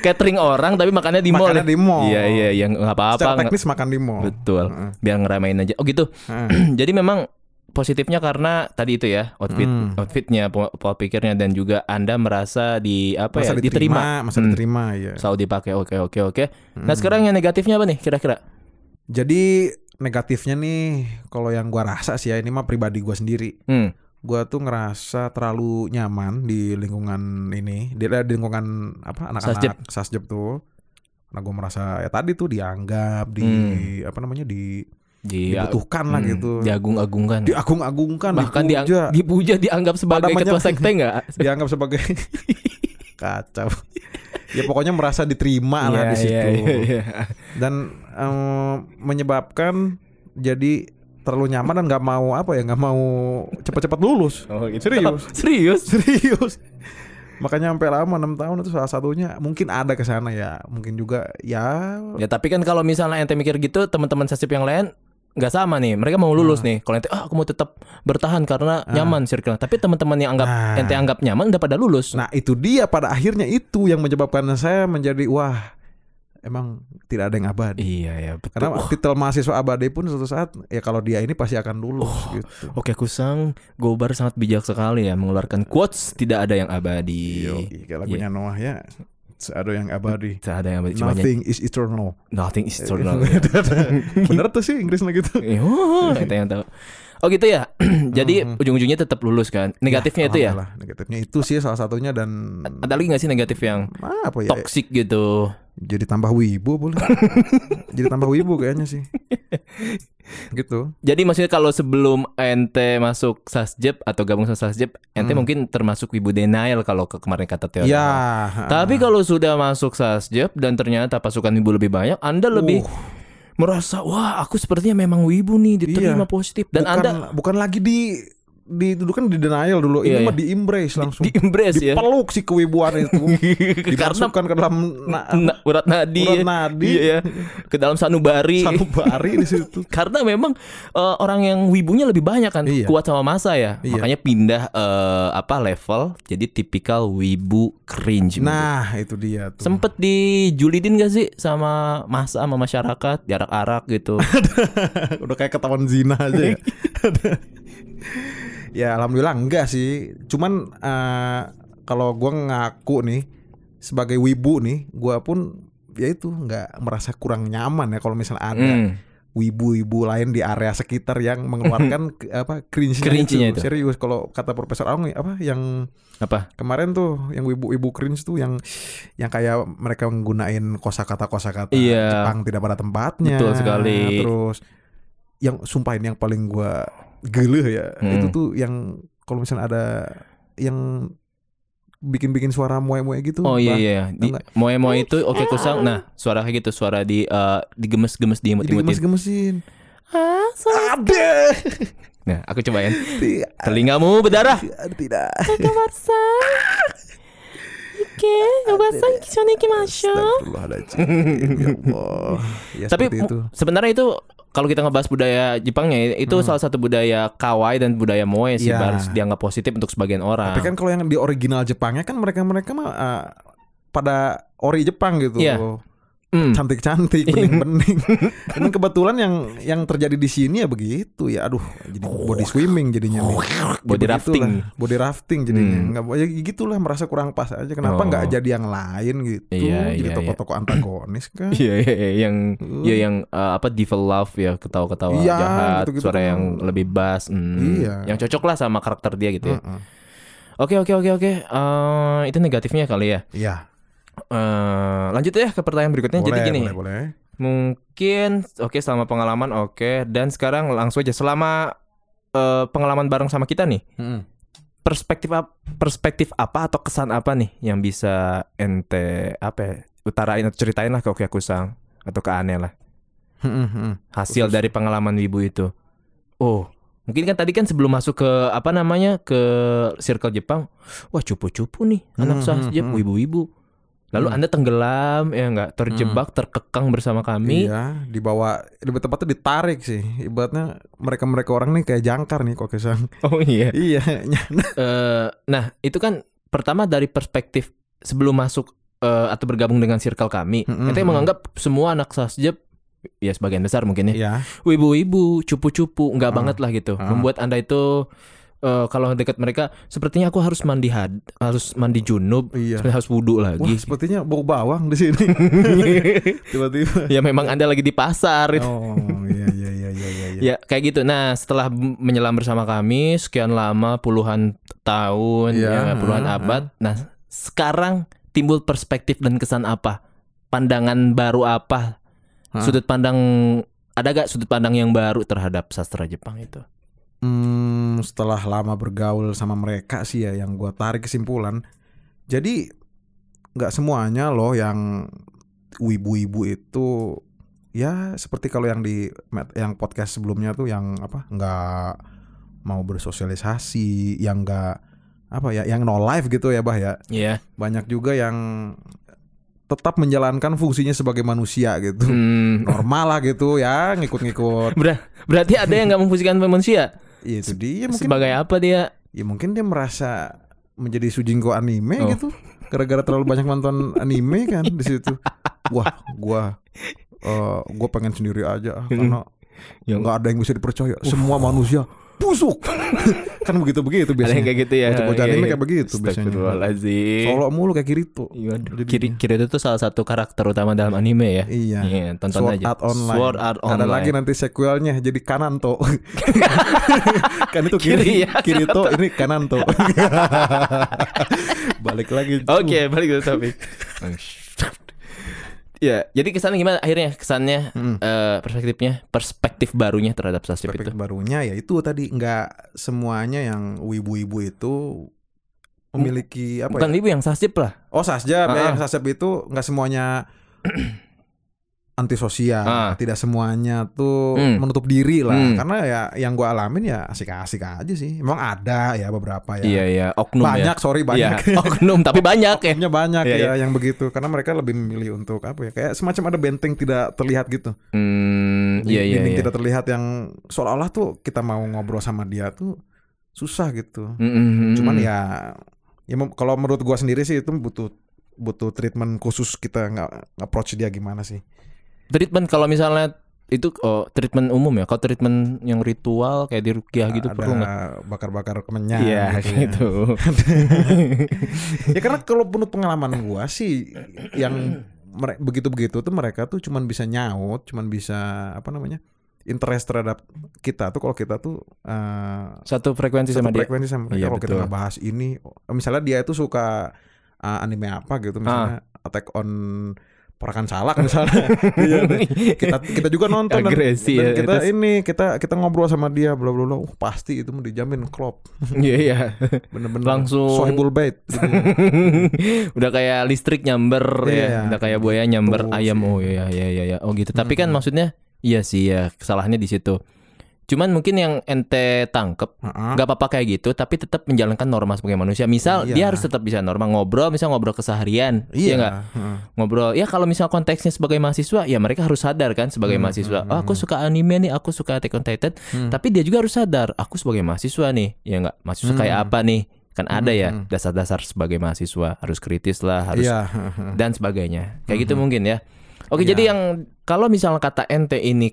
Speaker 2: catering orang tapi makannya di mall.
Speaker 3: Makannya
Speaker 2: ya?
Speaker 3: di mall.
Speaker 2: Iya iya iya nggak apa-apa.
Speaker 3: Secara
Speaker 2: nggak-
Speaker 3: teknis makan di mall.
Speaker 2: Betul.
Speaker 3: Heeh.
Speaker 2: Biar ngeramain aja. Oh gitu.
Speaker 3: Heeh.
Speaker 2: Jadi memang positifnya karena tadi itu ya outfit
Speaker 3: Hmm.
Speaker 2: outfitnya pola pola pikirnya dan juga anda merasa di apa ya
Speaker 3: masa
Speaker 2: diterima.
Speaker 3: diterima, masa
Speaker 2: Hmm.
Speaker 3: diterima Hmm. ya.
Speaker 2: Selalu dipakai. Oke oke oke. Nah sekarang yang negatifnya apa nih kira-kira?
Speaker 3: Jadi negatifnya nih kalau yang gua rasa sih ya ini mah pribadi gua sendiri.
Speaker 2: Hmm.
Speaker 3: Gua tuh ngerasa terlalu nyaman di lingkungan ini, di, eh, di lingkungan apa
Speaker 2: Sasjep.
Speaker 3: anak-anak sasjep tuh. Karena gua merasa ya tadi tuh dianggap, di
Speaker 2: Hmm.
Speaker 3: apa namanya di
Speaker 2: Di,
Speaker 3: dibutuhkan lah gitu.
Speaker 2: Hmm. Diagung-agungkan.
Speaker 3: Diagung-agungkan,
Speaker 2: Ya. Bahkan diang-
Speaker 3: dipuja,
Speaker 2: dipuja dianggap sebagai
Speaker 3: Pada
Speaker 2: ketua
Speaker 3: banyak-
Speaker 2: sekte nggak?
Speaker 3: dianggap sebagai kacau. ya pokoknya merasa diterima lah di situ.
Speaker 2: Iya, iya, iya.
Speaker 3: dan em, menyebabkan jadi terlalu nyaman dan nggak mau apa ya nggak mau cepat-cepat lulus
Speaker 2: Oh, gitu.
Speaker 3: serius
Speaker 2: Serius?
Speaker 3: serius makanya sampai lama 6 tahun itu salah satunya mungkin ada ke sana ya mungkin juga ya
Speaker 2: Ya tapi kan kalau misalnya ente mikir gitu teman-teman sasip yang lain nggak sama nih mereka mau lulus
Speaker 3: Nah.
Speaker 2: nih kalau ente ah aku mau tetap bertahan karena nyaman circle tapi teman-teman yang anggap
Speaker 3: Ah. Nah.
Speaker 2: ente anggap nyaman udah pada lulus
Speaker 3: nah itu dia pada akhirnya itu yang menyebabkan saya menjadi wah emang tidak ada yang abadi
Speaker 2: iya ya betul
Speaker 3: karena
Speaker 2: Oh,
Speaker 3: titel mahasiswa abadi pun suatu saat ya kalau dia ini pasti akan lulus gitu
Speaker 2: oke kusang gobar sangat bijak sekali ya mengeluarkan quotes tidak ada yang abadi
Speaker 3: Yoi, kayak lagunya Noah ya Seado yang abadi.
Speaker 2: Tak ada yang cuma
Speaker 3: Nothing is eternal.
Speaker 2: nothing is eternal.
Speaker 3: ya. Bener tuh sih Inggrisnya gitu.
Speaker 2: Eh, oh, kita yang tahu. Oh gitu ya. Jadi ujung-ujungnya tetap lulus kan. Negatifnya itu ya.
Speaker 3: Mm-hmm. Alhamdulillah, Negatifnya itu sih salah satunya dan
Speaker 2: Ada lagi nggak sih negatif yang
Speaker 3: Ah, apa ya?
Speaker 2: toksik gitu?
Speaker 3: Jadi tambah wibu boleh. Jadi tambah wibu kayaknya sih. Gitu.
Speaker 2: Jadi maksudnya kalau sebelum ente masuk sasjeb atau gabung sama sasjeb, ente mungkin termasuk wibu denial kalau ke kemarin kata teori.
Speaker 3: Hmm. Ya.
Speaker 2: Tapi kalau sudah masuk sasjeb dan ternyata pasukan wibu lebih banyak, anda lebih
Speaker 3: Uh,
Speaker 2: merasa wah aku sepertinya memang wibu nih diterima
Speaker 3: Iya.
Speaker 2: positif dan
Speaker 3: bukan,
Speaker 2: anda
Speaker 3: bukan lagi di didudukan di denial dulu.
Speaker 2: Iya,
Speaker 3: Ini mah di embrace langsung.
Speaker 2: di embrace ya.
Speaker 3: Dipeluk si kewibuan itu. Dimasukkan ke dalam na-
Speaker 2: Na- urat nadi,
Speaker 3: Urat nadi.
Speaker 2: Iya, ya. ke dalam sanubari.
Speaker 3: sanubari di situ.
Speaker 2: Karena memang eh, orang yang wibunya lebih banyak kan,
Speaker 3: Iya.
Speaker 2: kuat sama masa ya.
Speaker 3: Iya.
Speaker 2: Makanya pindah eh, apa level, jadi tipikal wibu cringe.
Speaker 3: Nah, itu dia tuh.
Speaker 2: Sempet dijulidin gak sih sama masa sama masyarakat, jarak-arak gitu.
Speaker 3: udah kayak ketahuan zina aja ya. ya alhamdulillah enggak sih cuman eh, kalau gua ngaku nih sebagai wibu nih gua pun ya itu nggak merasa kurang nyaman ya kalau misalnya ada
Speaker 2: Hmm.
Speaker 3: wibu-wibu lain di area sekitar yang mengeluarkan ke- apa cringe
Speaker 2: Cringe-nya itu.
Speaker 3: serius kalau kata Profesor Aung apa yang
Speaker 2: Apa?
Speaker 3: kemarin tuh yang wibu-wibu cringe tuh yang yang kayak mereka menggunain kosakata kosakata
Speaker 2: Iya.
Speaker 3: Jepang tidak pada tempatnya
Speaker 2: Betul sekali.
Speaker 3: terus yang sumpah ini yang paling gua geleh ya
Speaker 2: Hmm.
Speaker 3: itu tuh yang kalau misalnya ada yang bikin-bikin suara muai-muai gitu
Speaker 2: Oh iya
Speaker 3: bah,
Speaker 2: iya. Di,
Speaker 3: enggak. Eh.
Speaker 2: moe-moe itu oke kusang. Nah, suara kayak gitu, suara di eh, digemes-gemes
Speaker 3: jadi
Speaker 2: diimut-imutin.
Speaker 3: gemes-gemesin
Speaker 2: Ada. Nah, aku cobain.
Speaker 3: Tidak.
Speaker 2: Telingamu berdarah.
Speaker 3: tidak
Speaker 5: おばさん一緒に行きましょう。
Speaker 3: Astagfirullahaladzim ya Allah ya
Speaker 2: Tapi
Speaker 3: seperti itu
Speaker 2: sebenarnya itu kalau kita ngebahas budaya Jepangnya itu salah satu budaya kawaii dan budaya moe sih
Speaker 3: Hmm. Iya.
Speaker 2: harus dianggap positif untuk sebagian orang.
Speaker 3: Tapi kan kalau yang di original Jepangnya kan mereka-mereka mah uh, pada ori Jepang gitu.
Speaker 2: Iya. Hmm.
Speaker 3: Cantik-cantik, bening-bening. Cuman kebetulan yang yang terjadi di sini ya begitu ya. Aduh, jadi body swimming jadinya. nih.
Speaker 2: Body
Speaker 3: Begitulah,
Speaker 2: rafting.
Speaker 3: Body rafting jadinya.
Speaker 2: Hmm.
Speaker 3: Nggak ya gitulah merasa kurang pas aja. Kenapa
Speaker 2: Oh.
Speaker 3: nggak jadi yang lain gitu?
Speaker 2: Iya,
Speaker 3: jadi
Speaker 2: iya, iya.
Speaker 3: toko-toko antagonis kan.
Speaker 2: Iya iya iya, yang ya yang eh, apa devil love ya ketawa-ketawa
Speaker 3: Iya,
Speaker 2: jahat,
Speaker 3: gitu-gitu
Speaker 2: suara
Speaker 3: kan.
Speaker 2: yang lebih bass. hmm.
Speaker 3: Iya. Hmm.
Speaker 2: Yang cocok lah sama karakter dia gitu ya.
Speaker 3: Heeh.
Speaker 2: Oke oke oke oke. Eh, itu negatifnya kali ya.
Speaker 3: Iya.
Speaker 2: Eh, lanjut ya ke pertanyaan berikutnya.
Speaker 3: Boleh,
Speaker 2: Jadi gini.
Speaker 3: boleh, boleh.
Speaker 2: Mungkin oke selama pengalaman oke dan sekarang langsung aja selama eh, pengalaman bareng sama kita nih
Speaker 3: Heeh.
Speaker 2: perspektif ap- perspektif apa atau kesan apa nih yang bisa ente apa ya, utarain atau ceritain lah ke Oke Kusang atau ke Ane lah
Speaker 3: Heeh, heeh.
Speaker 2: hasil dari pengalaman Wibu itu. Oh mungkin kan tadi kan sebelum masuk ke apa namanya ke circle Jepang, wah cupu-cupu nih anak
Speaker 3: Hmm,
Speaker 2: sahjep
Speaker 3: hmm, hmm.
Speaker 2: wibu-wibu. Lalu
Speaker 3: Hmm.
Speaker 2: anda tenggelam ya nggak terjebak terkekang bersama kami.
Speaker 3: Iya, dibawa lebih tepatnya ditarik sih. Ibaratnya mereka-mereka orang nih kayak jangkar nih kok kesang.
Speaker 2: Oh iya.
Speaker 3: iya,
Speaker 2: Eh, nah itu kan pertama dari perspektif sebelum masuk eh, atau bergabung dengan circle kami
Speaker 3: Mm-mm.
Speaker 2: kita yang menganggap semua anak sasjeb ya sebagian besar mungkin ya
Speaker 3: iya.
Speaker 2: wibu-wibu cupu-cupu nggak
Speaker 3: Ah.
Speaker 2: banget lah gitu
Speaker 3: Ah.
Speaker 2: membuat anda itu eh, kalau dekat mereka sepertinya aku harus mandi had harus mandi junub
Speaker 3: Iya.
Speaker 2: sepertinya harus wudhu
Speaker 3: Wah,
Speaker 2: lagi
Speaker 3: sepertinya bau bawang di sini. Tiba-tiba.
Speaker 2: ya memang anda lagi di pasar gitu.
Speaker 3: Oh, iya iya iya iya iya. iya.
Speaker 2: Ya kayak gitu. Nah setelah m- menyelam bersama kami sekian lama puluhan tahun,
Speaker 3: Ya,
Speaker 2: ya, puluhan
Speaker 3: ah,
Speaker 2: abad. Nah sekarang timbul perspektif dan kesan apa? Pandangan baru apa?
Speaker 3: Ah.
Speaker 2: Sudut pandang ada gak sudut pandang yang baru terhadap sastra Jepang itu?
Speaker 3: Hmm, setelah lama bergaul sama mereka sih ya yang gua tarik kesimpulan. Jadi nggak semuanya loh yang wibu-wibu itu ya seperti kalau yang di yang podcast sebelumnya tuh yang apa nggak mau bersosialisasi, yang nggak apa ya, yang no life gitu ya bah ya.
Speaker 2: Iya.
Speaker 3: Banyak juga yang tetap menjalankan fungsinya sebagai manusia gitu.
Speaker 2: Hmm.
Speaker 3: Normal lah gitu ya, ngikut-ngikut.
Speaker 2: Ber- berarti ada yang nggak memfungsikan manusia?
Speaker 3: Ya, itu dia mungkin
Speaker 2: Sebagai apa dia?
Speaker 3: ya mungkin dia merasa menjadi Sujinko anime
Speaker 2: Oh.
Speaker 3: gitu gara-gara terlalu banyak nonton anime kan di situ wah gua eh gua pengen sendiri aja karena
Speaker 2: Yang- Ya.
Speaker 3: nggak ada yang bisa dipercaya semua manusia busuk. kan begitu-begitu
Speaker 2: Ada
Speaker 3: biasanya.
Speaker 2: yang kayak gitu ya.
Speaker 3: Bocah-bocah
Speaker 2: Iya,
Speaker 3: anime
Speaker 2: iya.
Speaker 3: kayak begitu biasanya.
Speaker 2: Astagfirullahaladzim.
Speaker 3: Solo mulu kayak Kirito.
Speaker 2: Iya, aduh.
Speaker 3: Jadi-
Speaker 2: Kiri Kirito itu salah satu karakter utama dalam anime ya.
Speaker 3: Iya.
Speaker 2: tonton
Speaker 3: Sword
Speaker 2: aja.
Speaker 3: Art Online.
Speaker 2: Sword Art Online.
Speaker 3: Ada lagi nanti sequelnya jadi Kananto. kan itu
Speaker 2: Kiri
Speaker 3: kiri,
Speaker 2: ya,
Speaker 3: Kirito ini Kananto. Balik lagi.
Speaker 2: Oke, balik ke topik. ya, jadi kesannya gimana akhirnya kesannya
Speaker 3: Hmm.
Speaker 2: eh, perspektifnya, perspektif barunya terhadap sasip itu.
Speaker 3: Perspektif barunya ya itu tadi nggak semuanya yang wibu-wibu itu memiliki apa
Speaker 2: Bukan
Speaker 3: ya?
Speaker 2: ibu yang sasip lah.
Speaker 3: Oh sasjab
Speaker 2: Ah.
Speaker 3: ya yang sasjab itu nggak semuanya antisosial,
Speaker 2: Ah.
Speaker 3: tidak semuanya tuh
Speaker 2: Hmm.
Speaker 3: menutup diri lah.
Speaker 2: Hmm.
Speaker 3: Karena ya yang gua alamin ya asik-asik aja sih. Emang ada ya beberapa ya.
Speaker 2: Iya, iya, oknum
Speaker 3: banyak
Speaker 2: ya.
Speaker 3: sorry banyak.
Speaker 2: Iya, oknum tapi banyak ya.
Speaker 3: Oknumnya banyak
Speaker 2: Iya,
Speaker 3: ya yang begitu karena mereka lebih memilih untuk apa ya kayak semacam ada benteng tidak terlihat gitu.
Speaker 2: Hmm,
Speaker 3: Di-
Speaker 2: iya, iya,
Speaker 3: dinding
Speaker 2: iya.
Speaker 3: tidak terlihat yang seolah-olah tuh kita mau ngobrol sama dia tuh susah gitu.
Speaker 2: Mm, mm, mm,
Speaker 3: Cuman
Speaker 2: mm.
Speaker 3: ya ya mem- kalau menurut gua sendiri sih itu butuh butuh treatment khusus kita nggak approach dia gimana sih.
Speaker 2: treatment kalau misalnya itu oh, treatment umum ya. Kalau treatment yang ritual kayak di rukyah gitu
Speaker 3: ada
Speaker 2: perlu nggak?
Speaker 3: bakar-bakar kemenyan
Speaker 2: Iya,
Speaker 3: gitu ya.
Speaker 2: gitu.
Speaker 3: ya karena kalau menurut pengalaman gua sih yang mere- begitu-begitu tuh mereka tuh cuman bisa nyaut, cuman bisa apa namanya? interest terhadap kita tuh kalau kita tuh eh,
Speaker 2: Satu frekuensi sama
Speaker 3: satu
Speaker 2: dia.
Speaker 3: frekuensi sama mereka.
Speaker 2: Iya,
Speaker 3: kalau kita
Speaker 2: betul.
Speaker 3: ngebahas ini misalnya dia itu suka eh, anime
Speaker 2: Ah.
Speaker 3: apa gitu misalnya Attack on Parakan Salak misalnya. Iya, kita kita juga nonton dan-
Speaker 2: Agresi
Speaker 3: dan,
Speaker 2: ya,
Speaker 3: kita
Speaker 2: terus-
Speaker 3: ini kita kita ngobrol sama dia bla bla bla. Uh, pasti itu mah dijamin klop.
Speaker 2: Iya, iya.
Speaker 3: Bener-bener
Speaker 2: Langsung-
Speaker 3: sohibul bait. Gitu.
Speaker 2: udah kayak listrik nyamber
Speaker 3: Iya.
Speaker 2: ya, udah kayak buaya nyamber
Speaker 3: Betul
Speaker 2: ayam.
Speaker 3: sih. Hmm.
Speaker 2: Oh iya iya iya iya. Oh gitu. Tapi kan maksudnya iya sih ya, kesalahannya di situ. Cuman mungkin yang ente tangkep
Speaker 3: Heeh.
Speaker 2: nggak apa-apa kayak gitu, tapi tetap menjalankan norma sebagai manusia. Misal
Speaker 3: Iya.
Speaker 2: dia harus tetap bisa norma ngobrol, misal ngobrol keseharian,
Speaker 3: Iya.
Speaker 2: nggak?
Speaker 3: Heeh.
Speaker 2: ngobrol ya kalau misal konteksnya sebagai mahasiswa ya mereka harus sadar kan sebagai mahasiswa "Oh, aku suka anime nih aku suka Attack on Titan
Speaker 3: Hmm.
Speaker 2: tapi dia juga harus sadar aku sebagai mahasiswa nih ya nggak mahasiswa kayak apa nih kan ada ya dasar-dasar sebagai mahasiswa harus kritis lah harus
Speaker 3: Iya. heeh.
Speaker 2: dan sebagainya kayak gitu mungkin ya oke jadi yang kalau misalnya kata ente ini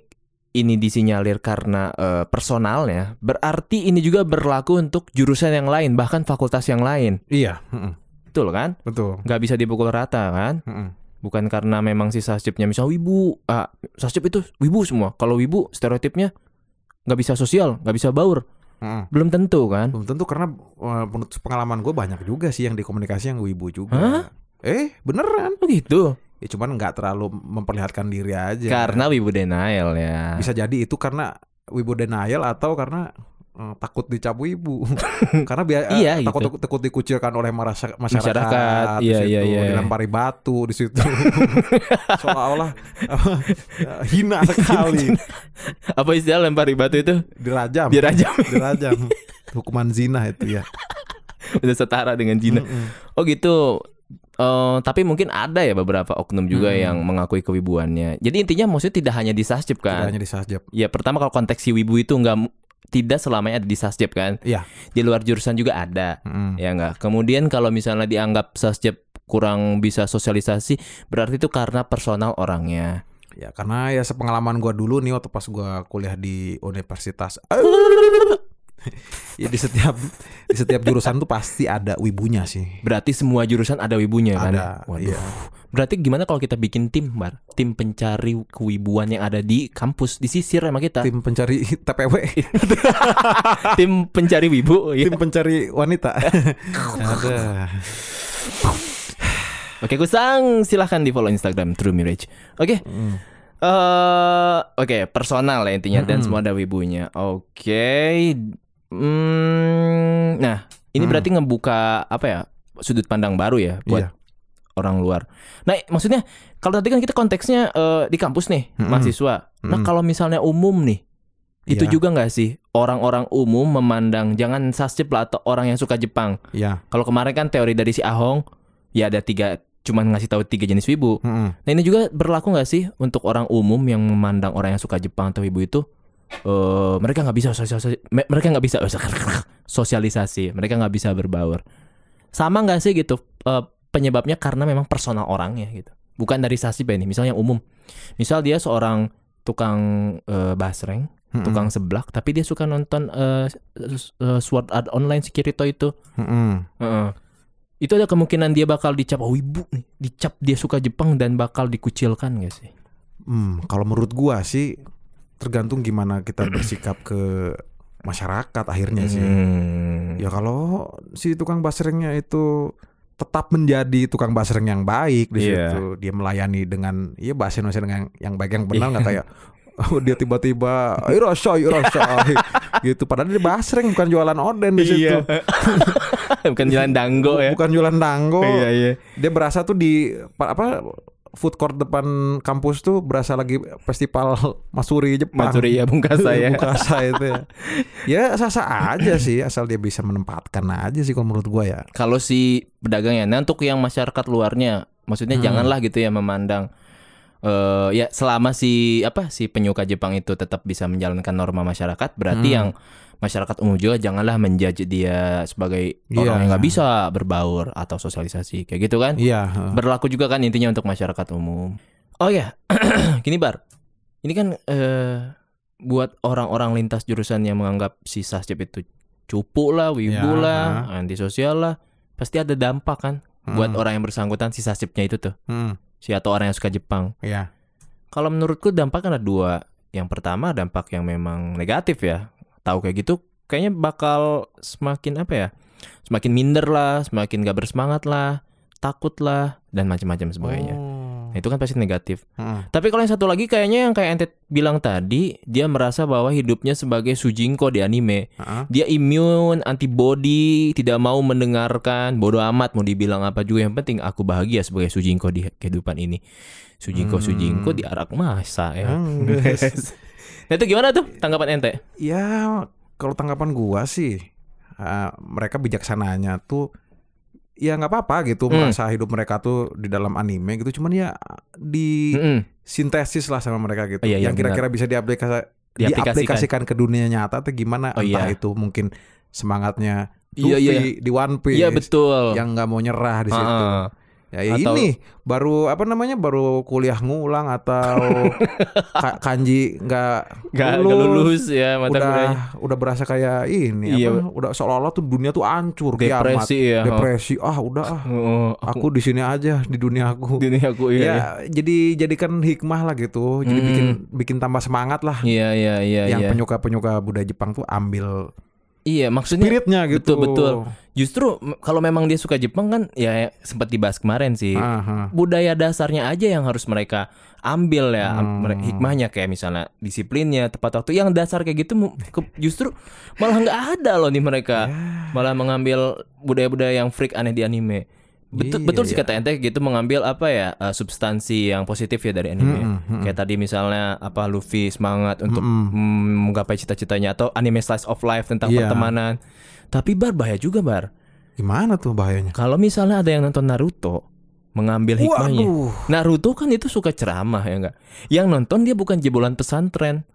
Speaker 2: ini disinyalir karena eh, personalnya berarti ini juga berlaku untuk jurusan yang lain bahkan fakultas yang lain
Speaker 3: Iya. heeh.
Speaker 2: betul kan
Speaker 3: Betul.
Speaker 2: nggak bisa dipukul rata kan
Speaker 3: Heeh.
Speaker 2: bukan karena memang si sasjipnya misalnya wibu ah sasjip itu wibu semua kalau wibu stereotipnya nggak bisa sosial nggak bisa baur
Speaker 3: Heeh.
Speaker 2: belum tentu kan
Speaker 3: Belum tentu karena eh, menurut pengalaman gue banyak juga sih yang di komunikasi yang wibu juga.
Speaker 2: Hah?
Speaker 3: Eh beneran?
Speaker 2: oh gitu
Speaker 3: Ya cuman nggak terlalu memperlihatkan diri aja.
Speaker 2: Iya. karena wibu denial ya
Speaker 3: bisa jadi itu karena wibu denial atau karena eh, takut dicap wibu. karena biar
Speaker 2: Iya, gitu.
Speaker 3: takut takut dikucilkan oleh marasa- masyarakat,
Speaker 2: Masyarakat,
Speaker 3: di
Speaker 2: iya,
Speaker 3: situ,
Speaker 2: iya, iya.
Speaker 3: dilempari batu di situ. Seolah-olah apa, hina sekali,
Speaker 2: apa istilah lempar batu itu
Speaker 3: dirajam.
Speaker 2: dirajam
Speaker 3: dirajam hukuman zina itu ya
Speaker 2: udah setara dengan jina
Speaker 3: Hmm.
Speaker 2: oh gitu Eh, tapi mungkin ada ya beberapa oknum
Speaker 3: Hmm.
Speaker 2: juga yang mengakui kewibuannya jadi intinya maksudnya tidak hanya di sasjip
Speaker 3: tidak
Speaker 2: kan
Speaker 3: hanya di sasjab
Speaker 2: ya pertama kalau konteks si wibu itu nggak mu- tidak selamanya ada di sasjip kan
Speaker 3: iya
Speaker 2: di luar jurusan juga ada
Speaker 3: Mm.
Speaker 2: ya nggak kemudian kalau misalnya dianggap sasjep kurang bisa sosialisasi berarti itu karena personal orangnya
Speaker 3: ya karena ya sepengalaman gua dulu nih waktu pas gua kuliah di universitas ya di setiap di setiap jurusan tuh pasti ada wibunya sih
Speaker 2: berarti semua jurusan ada wibunya kan
Speaker 3: ada
Speaker 2: waduh
Speaker 3: iya.
Speaker 2: berarti gimana kalau kita bikin tim bar tim pencari kewibuan yang ada di kampus disisir sama kita tim,
Speaker 3: tim pencari TPW
Speaker 2: pencari wibu ya.
Speaker 3: tim pencari wanita ada
Speaker 2: oke kusang silahkan di follow instagram true mirage oke
Speaker 3: Mm.
Speaker 2: eh Oke, personal ya intinya dan semua ada wibunya. Oke. Hmm, nah,
Speaker 3: Mm.
Speaker 2: ini berarti ngebuka apa ya? Sudut pandang baru ya buat
Speaker 3: Iya.
Speaker 2: orang luar. Nah, maksudnya kalau tadi kan kita konteksnya eh, di kampus nih,
Speaker 3: Mm-mm.
Speaker 2: mahasiswa. Nah,
Speaker 3: Mm-mm.
Speaker 2: kalau misalnya umum nih, itu
Speaker 3: Iya.
Speaker 2: juga nggak sih orang-orang umum memandang jangan sasjip lah atau orang yang suka Jepang.
Speaker 3: ya
Speaker 2: Kalau kemarin kan teori dari si Ahong, ya ada tiga cuman ngasih tahu tiga jenis wibu.
Speaker 3: Mm-mm.
Speaker 2: Nah ini juga berlaku nggak sih untuk orang umum yang memandang orang yang suka Jepang atau ibu itu eh mereka nggak bisa sosialisasi, me- mereka nggak bisa sosialisasi, mereka nggak bisa berbaur. Sama nggak sih gitu eh, penyebabnya karena memang personal orangnya gitu, bukan dari sasip ya ini. Misal yang umum, misal dia seorang tukang eh, basreng,
Speaker 3: Mm-mm.
Speaker 2: tukang seblak tapi dia suka nonton eh, s- eh, Sword Art Online Kirito itu
Speaker 3: Mm-mm.
Speaker 2: Heeh. itu ada kemungkinan dia bakal dicap oh ibu nih dicap dia suka Jepang dan bakal dikucilkan gak sih
Speaker 3: Hmm, kalau menurut gua sih tergantung gimana kita bersikap ke masyarakat akhirnya Iya sih.
Speaker 2: Hmm.
Speaker 3: Ya kalau si tukang basrengnya itu tetap menjadi tukang basreng yang baik di
Speaker 2: Iya.
Speaker 3: situ, dia melayani dengan ya bahasa Indonesia dengan yang baik yang
Speaker 2: Iya.
Speaker 3: benar nggak kayak oh, dia tiba-tiba irosoi irosoi gitu padahal dia basreng bukan jualan oden di situ.
Speaker 2: Iya. bukan jalan danggo ya
Speaker 3: Bukan jualan dango.
Speaker 2: iya iya
Speaker 3: Dia berasa tuh di pa- apa food court depan kampus tuh berasa lagi festival Masuri Jepang.
Speaker 2: Matsuri ya bungkasa ya
Speaker 3: Bukasa itu ya. Ya sasa aja sih asal dia bisa menempatkan aja sih kalau menurut gua ya.
Speaker 2: kalau si pedagangnya nah untuk yang masyarakat luarnya maksudnya
Speaker 3: Hmm.
Speaker 2: janganlah gitu ya memandang eh ya selama si apa si penyuka Jepang itu tetap bisa menjalankan norma masyarakat berarti
Speaker 3: Hmm.
Speaker 2: yang masyarakat umum juga janganlah menjudge dia sebagai
Speaker 3: Iya.
Speaker 2: orang yang nggak bisa berbaur atau sosialisasi kayak gitu kan
Speaker 3: Iya.
Speaker 2: berlaku juga kan intinya untuk masyarakat umum oh ya gini bar ini kan eh buat orang-orang lintas jurusan yang menganggap si sasjep itu cupu lah wibu
Speaker 3: Ya.
Speaker 2: lah antisosial lah pasti ada dampak kan buat orang yang bersangkutan si sasjepnya itu tuh
Speaker 3: Hmm,
Speaker 2: si atau orang yang suka Jepang
Speaker 3: Iya.
Speaker 2: kalau menurutku dampak kan ada dua yang pertama dampak yang memang negatif ya tahu kayak gitu kayaknya bakal semakin apa ya semakin minder lah semakin gak bersemangat lah takut lah dan macam-macam sebagainya Nah, itu kan pasti negatif.
Speaker 3: Iya. Heeh.
Speaker 2: Tapi kalau yang satu lagi kayaknya yang kayak Entet bilang tadi, dia merasa bahwa hidupnya sebagai Sujinko di anime.
Speaker 3: Heeh.
Speaker 2: Dia imun, antibody, tidak mau mendengarkan, bodoh amat mau dibilang apa juga yang penting aku bahagia sebagai Sujinko di kehidupan ini. Sujinko
Speaker 3: Hmm.
Speaker 2: Sujinko di arak masa ya.
Speaker 3: Hmm, guys.
Speaker 2: nah, itu gimana tuh tanggapan Ente?
Speaker 3: ya kalau tanggapan gua sih ah, mereka bijaksananya tuh ya nggak apa-apa gitu
Speaker 2: Hmm.
Speaker 3: merasa hidup mereka tuh di dalam anime gitu cuman ya di
Speaker 2: Mm-mm.
Speaker 3: sintesis lah sama mereka gitu.
Speaker 2: Oh, Hmm. iya, iya,
Speaker 3: yang kira-kira bisa diaplikasi
Speaker 2: Diaplikasikan.
Speaker 3: diaplikasikan ke dunia nyata tuh gimana?
Speaker 2: Oh,
Speaker 3: Entah
Speaker 2: iya.
Speaker 3: itu mungkin semangatnya
Speaker 2: Iya,
Speaker 3: Luffy
Speaker 2: iya.
Speaker 3: di One Piece
Speaker 2: Iya, betul.
Speaker 3: yang nggak mau nyerah di situ.
Speaker 2: Ah,
Speaker 3: Ya, ya
Speaker 2: Atau-
Speaker 3: ini baru apa namanya? Baru kuliah ngulang atau ka- kanji nggak
Speaker 2: nggak nggak
Speaker 3: lulus.
Speaker 2: lulus ya mata
Speaker 3: udah
Speaker 2: kuliahnya.
Speaker 3: udah berasa kayak ini
Speaker 2: Iya.
Speaker 3: apa? udah seolah-olah tuh dunia tuh hancur kiamat.
Speaker 2: Depresi ya.
Speaker 3: depresi ah udah ah
Speaker 2: Oh, aku,
Speaker 3: aku di sini aja di dunia aku
Speaker 2: ini aku iya. iya.
Speaker 3: ya jadi jadikan hikmah lah gitu jadi
Speaker 2: Hmm.
Speaker 3: bikin bikin tambah semangat lah
Speaker 2: Iya iya iya
Speaker 3: yang
Speaker 2: iya.
Speaker 3: penyuka penyuka budaya Jepang tuh ambil
Speaker 2: Iya maksudnya
Speaker 3: spiritnya gitu
Speaker 2: betul, betul. justru m- kalau memang dia suka Jepang kan ya sempat dibahas kemarin sih
Speaker 3: Aha.
Speaker 2: budaya dasarnya aja yang harus mereka ambil ya am-
Speaker 3: Hmm.
Speaker 2: mere- hikmahnya kayak misalnya disiplinnya tepat waktu yang dasar kayak gitu mu- ke- justru malah nggak ada loh nih
Speaker 3: Ya.
Speaker 2: mereka malah mengambil budaya-budaya yang freak aneh di anime betul
Speaker 3: Iya,
Speaker 2: betul sih
Speaker 3: iya.
Speaker 2: kata ente gitu mengambil apa ya eh, substansi yang positif ya dari anime
Speaker 3: Mm-mm, mm-mm.
Speaker 2: kayak tadi misalnya apa Luffy semangat untuk
Speaker 3: Mm-mm.
Speaker 2: mm, menggapai cita-citanya atau anime slice of life tentang
Speaker 3: Iya.
Speaker 2: pertemanan tapi bar bahaya juga bar
Speaker 3: gimana tuh bahayanya
Speaker 2: kalau misalnya ada yang nonton Naruto mengambil hikmahnya.
Speaker 3: waduh
Speaker 2: Naruto kan itu suka ceramah ya enggak. Yang nonton dia bukan jebolan pesantren,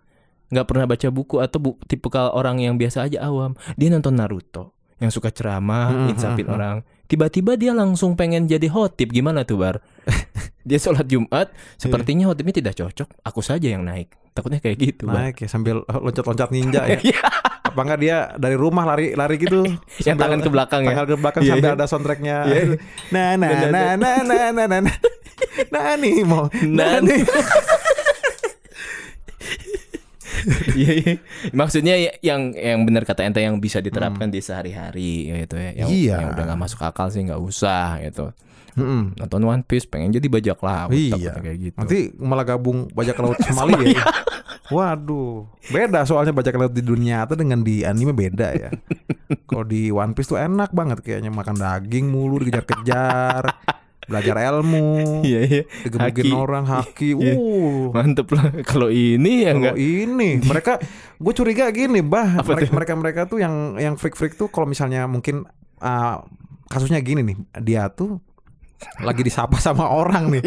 Speaker 2: nggak pernah baca buku atau bu, tipikal orang yang biasa aja awam. Dia nonton Naruto yang suka ceramah,
Speaker 3: Hmm,
Speaker 2: insapin
Speaker 3: hmm,
Speaker 2: orang. Tiba-tiba dia langsung pengen jadi hotip gimana tuh bar? dia sholat Jumat,
Speaker 3: Iya.
Speaker 2: sepertinya hotipnya tidak cocok. Aku saja yang naik. Takutnya kayak gitu. Bar.
Speaker 3: naik ya sambil loncat-loncat ninja ya apa enggak dia dari rumah lari lari gitu
Speaker 2: Yang
Speaker 3: Sambil-
Speaker 2: tangan ke belakang Iya. ya.
Speaker 3: tangan ke belakang
Speaker 2: Iya,
Speaker 3: sambil
Speaker 2: iya.
Speaker 3: ada soundtracknya
Speaker 2: Iya, iya.
Speaker 3: nah nah
Speaker 2: Benar,
Speaker 3: nah nah nah nah nah nah Nani mau
Speaker 2: Nan-
Speaker 3: Nani
Speaker 2: Iya, iya. Maksudnya ya- yang yang benar kata ente yang bisa diterapkan di sehari-hari gitu ya. Yang,
Speaker 3: Hmm. Iya.
Speaker 2: yang udah nggak masuk akal sih nggak usah gitu.
Speaker 3: Mm-mm.
Speaker 2: Nonton One Piece pengen jadi bajak laut
Speaker 3: Iya.
Speaker 2: takutnya kayak gitu.
Speaker 3: Nanti malah gabung bajak laut Somalia. ya. Waduh, beda soalnya bajak laut di dunia nyata dengan di anime beda ya. Kalau di One Piece tuh enak banget kayaknya makan daging mulu dikejar-kejar, belajar ilmu,
Speaker 2: Iya iya. Haki.
Speaker 3: digebukin orang haki.
Speaker 2: Iya.
Speaker 3: Uh.
Speaker 2: Mantep lah kalau ini ya
Speaker 3: Kalau
Speaker 2: enggak.
Speaker 3: ini mereka gue curiga gini, Bah.
Speaker 2: Apa
Speaker 3: Mereka, mereka mereka tuh yang yang freak-freak tuh kalau misalnya mungkin ah, kasusnya gini nih, dia tuh lagi disapa sama orang nih.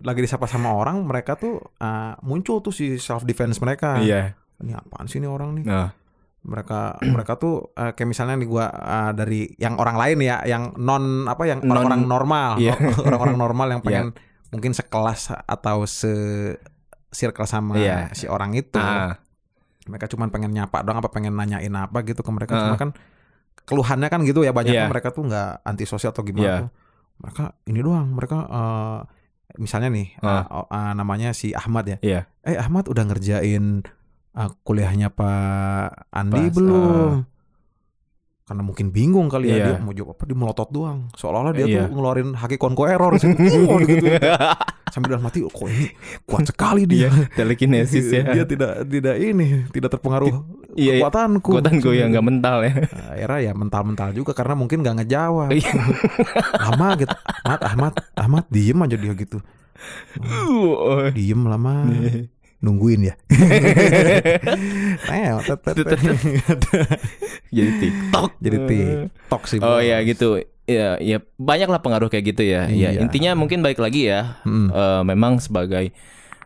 Speaker 3: lagi disapa sama orang, mereka tuh ah, muncul tuh si self defense mereka.
Speaker 2: Iya.
Speaker 3: Ini apaan sih nih orang nih?
Speaker 2: Nah,
Speaker 3: Mereka mereka tuh eh, kayak misalnya nih gua ah, dari yang orang lain ya, yang non apa yang
Speaker 2: Non-
Speaker 3: orang-orang normal,
Speaker 2: Iya.
Speaker 3: orang-orang normal yang
Speaker 2: Iya.
Speaker 3: pengen mungkin sekelas atau se circle sama
Speaker 2: Iya.
Speaker 3: si orang itu
Speaker 2: ah,
Speaker 3: Mereka cuma pengen nyapa doang apa pengen nanyain apa gitu ke mereka. Cuma
Speaker 2: Heeh.
Speaker 3: kan keluhannya kan gitu ya
Speaker 2: Iya.
Speaker 3: banyaknya mereka tuh nggak antisosial atau
Speaker 2: Iya.
Speaker 3: gimana. tuh. Mereka ini doang. Mereka eh, misalnya nih
Speaker 2: Heeh.
Speaker 3: eh, eh, namanya si Ahmad ya.
Speaker 2: Iya.
Speaker 3: Eh Ahmad udah ngerjain eh, kuliahnya Pak Andi
Speaker 2: Pas,
Speaker 3: belum? Karena mungkin bingung kali ya
Speaker 2: Iya.
Speaker 3: dia mau jawab apa dia melotot doang. Seolah-olah dia
Speaker 2: Iya.
Speaker 3: tuh ngeluarin haki konko error gitu. Wah, gitu. Sambil dalam hati "Oh, kok ini kuat sekali
Speaker 2: Iya.
Speaker 3: dia.
Speaker 2: Telekinesis ya.
Speaker 3: Dia tidak tidak ini, tidak terpengaruh
Speaker 2: Iya, iya.
Speaker 3: kekuatanku.
Speaker 2: Kuatan gue yang nggak mental ya.
Speaker 3: Akhirnya ya mental-mental juga karena mungkin nggak
Speaker 2: Oh,
Speaker 3: ngejawab.
Speaker 2: iya.
Speaker 3: lama gitu. Ahmad, Ahmad, Ahmad diem aja dia gitu.
Speaker 2: Oh.
Speaker 3: Diem lama.
Speaker 2: Iya,
Speaker 3: Nungguin ya. Nah, tet- tet-
Speaker 2: Jadi TikTok.
Speaker 3: Jadi TikTok sih.
Speaker 2: Oh
Speaker 3: Bang.
Speaker 2: ya gitu. Ya, ya banyaklah pengaruh kayak gitu ya. Ya
Speaker 3: Iya.
Speaker 2: intinya mungkin baik lagi ya.
Speaker 3: Mm.
Speaker 2: Eh, memang sebagai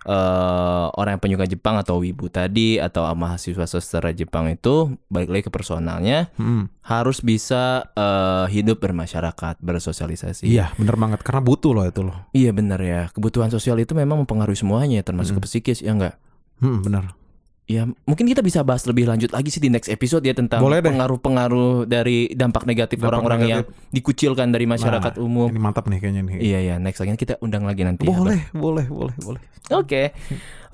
Speaker 2: eh, orang yang penyuka Jepang atau wibu tadi atau mahasiswa sastra Jepang itu balik lagi ke personalnya
Speaker 3: Mm.
Speaker 2: harus bisa eh, hidup bermasyarakat bersosialisasi.
Speaker 3: Iya, bener banget karena butuh loh itu loh.
Speaker 2: Iya benar ya. Kebutuhan sosial itu memang mempengaruhi semuanya termasuk ke psikis ya enggak?
Speaker 3: Hmm, bener.
Speaker 2: Ya, mungkin kita bisa bahas lebih lanjut lagi sih di next episode ya tentang
Speaker 3: Boleh deh.
Speaker 2: pengaruh-pengaruh dari dampak negatif
Speaker 3: Dampak
Speaker 2: orang-orang yang
Speaker 3: negatif. Nah,
Speaker 2: dikucilkan dari masyarakat umum.
Speaker 3: Ini mantap nih kayaknya nih.
Speaker 2: Oh. Iya ya, next lagi kita undang lagi nanti. ya, Bar.
Speaker 3: Boleh, boleh, boleh, boleh.
Speaker 2: Oke.